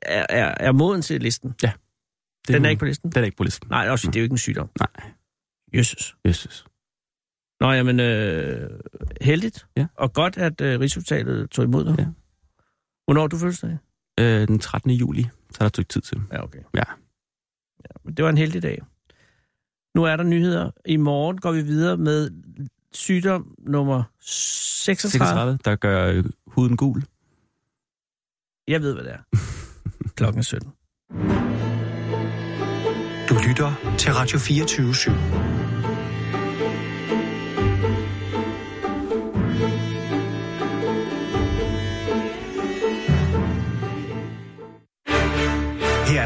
S3: er, er, er moden til listen.
S4: Det
S3: Den er
S4: må-
S3: ikke på listen?
S4: Den er ikke på listen.
S3: Nej, også,
S4: Nå.
S3: det er jo ikke en sygdom.
S4: Nej.
S3: Jesus.
S4: Jeg synes.
S3: Nå, jamen, øh, heldigt.
S4: Ja.
S3: Og godt, at øh, Rigshospitalet tog imod dig.
S4: Ja.
S3: Hvornår har du fødselsdag?
S4: Øh, den 13. juli, så er der et stykke tid til.
S3: Ja, okay.
S4: Ja.
S3: ja men det var en heldig dag. Nu er der nyheder. I morgen går vi videre med sygdom nummer 36.
S4: 36, der gør øh, huden gul.
S3: Jeg ved, hvad det er. Klokken er 17.
S2: Du lytter til Radio 24 /7.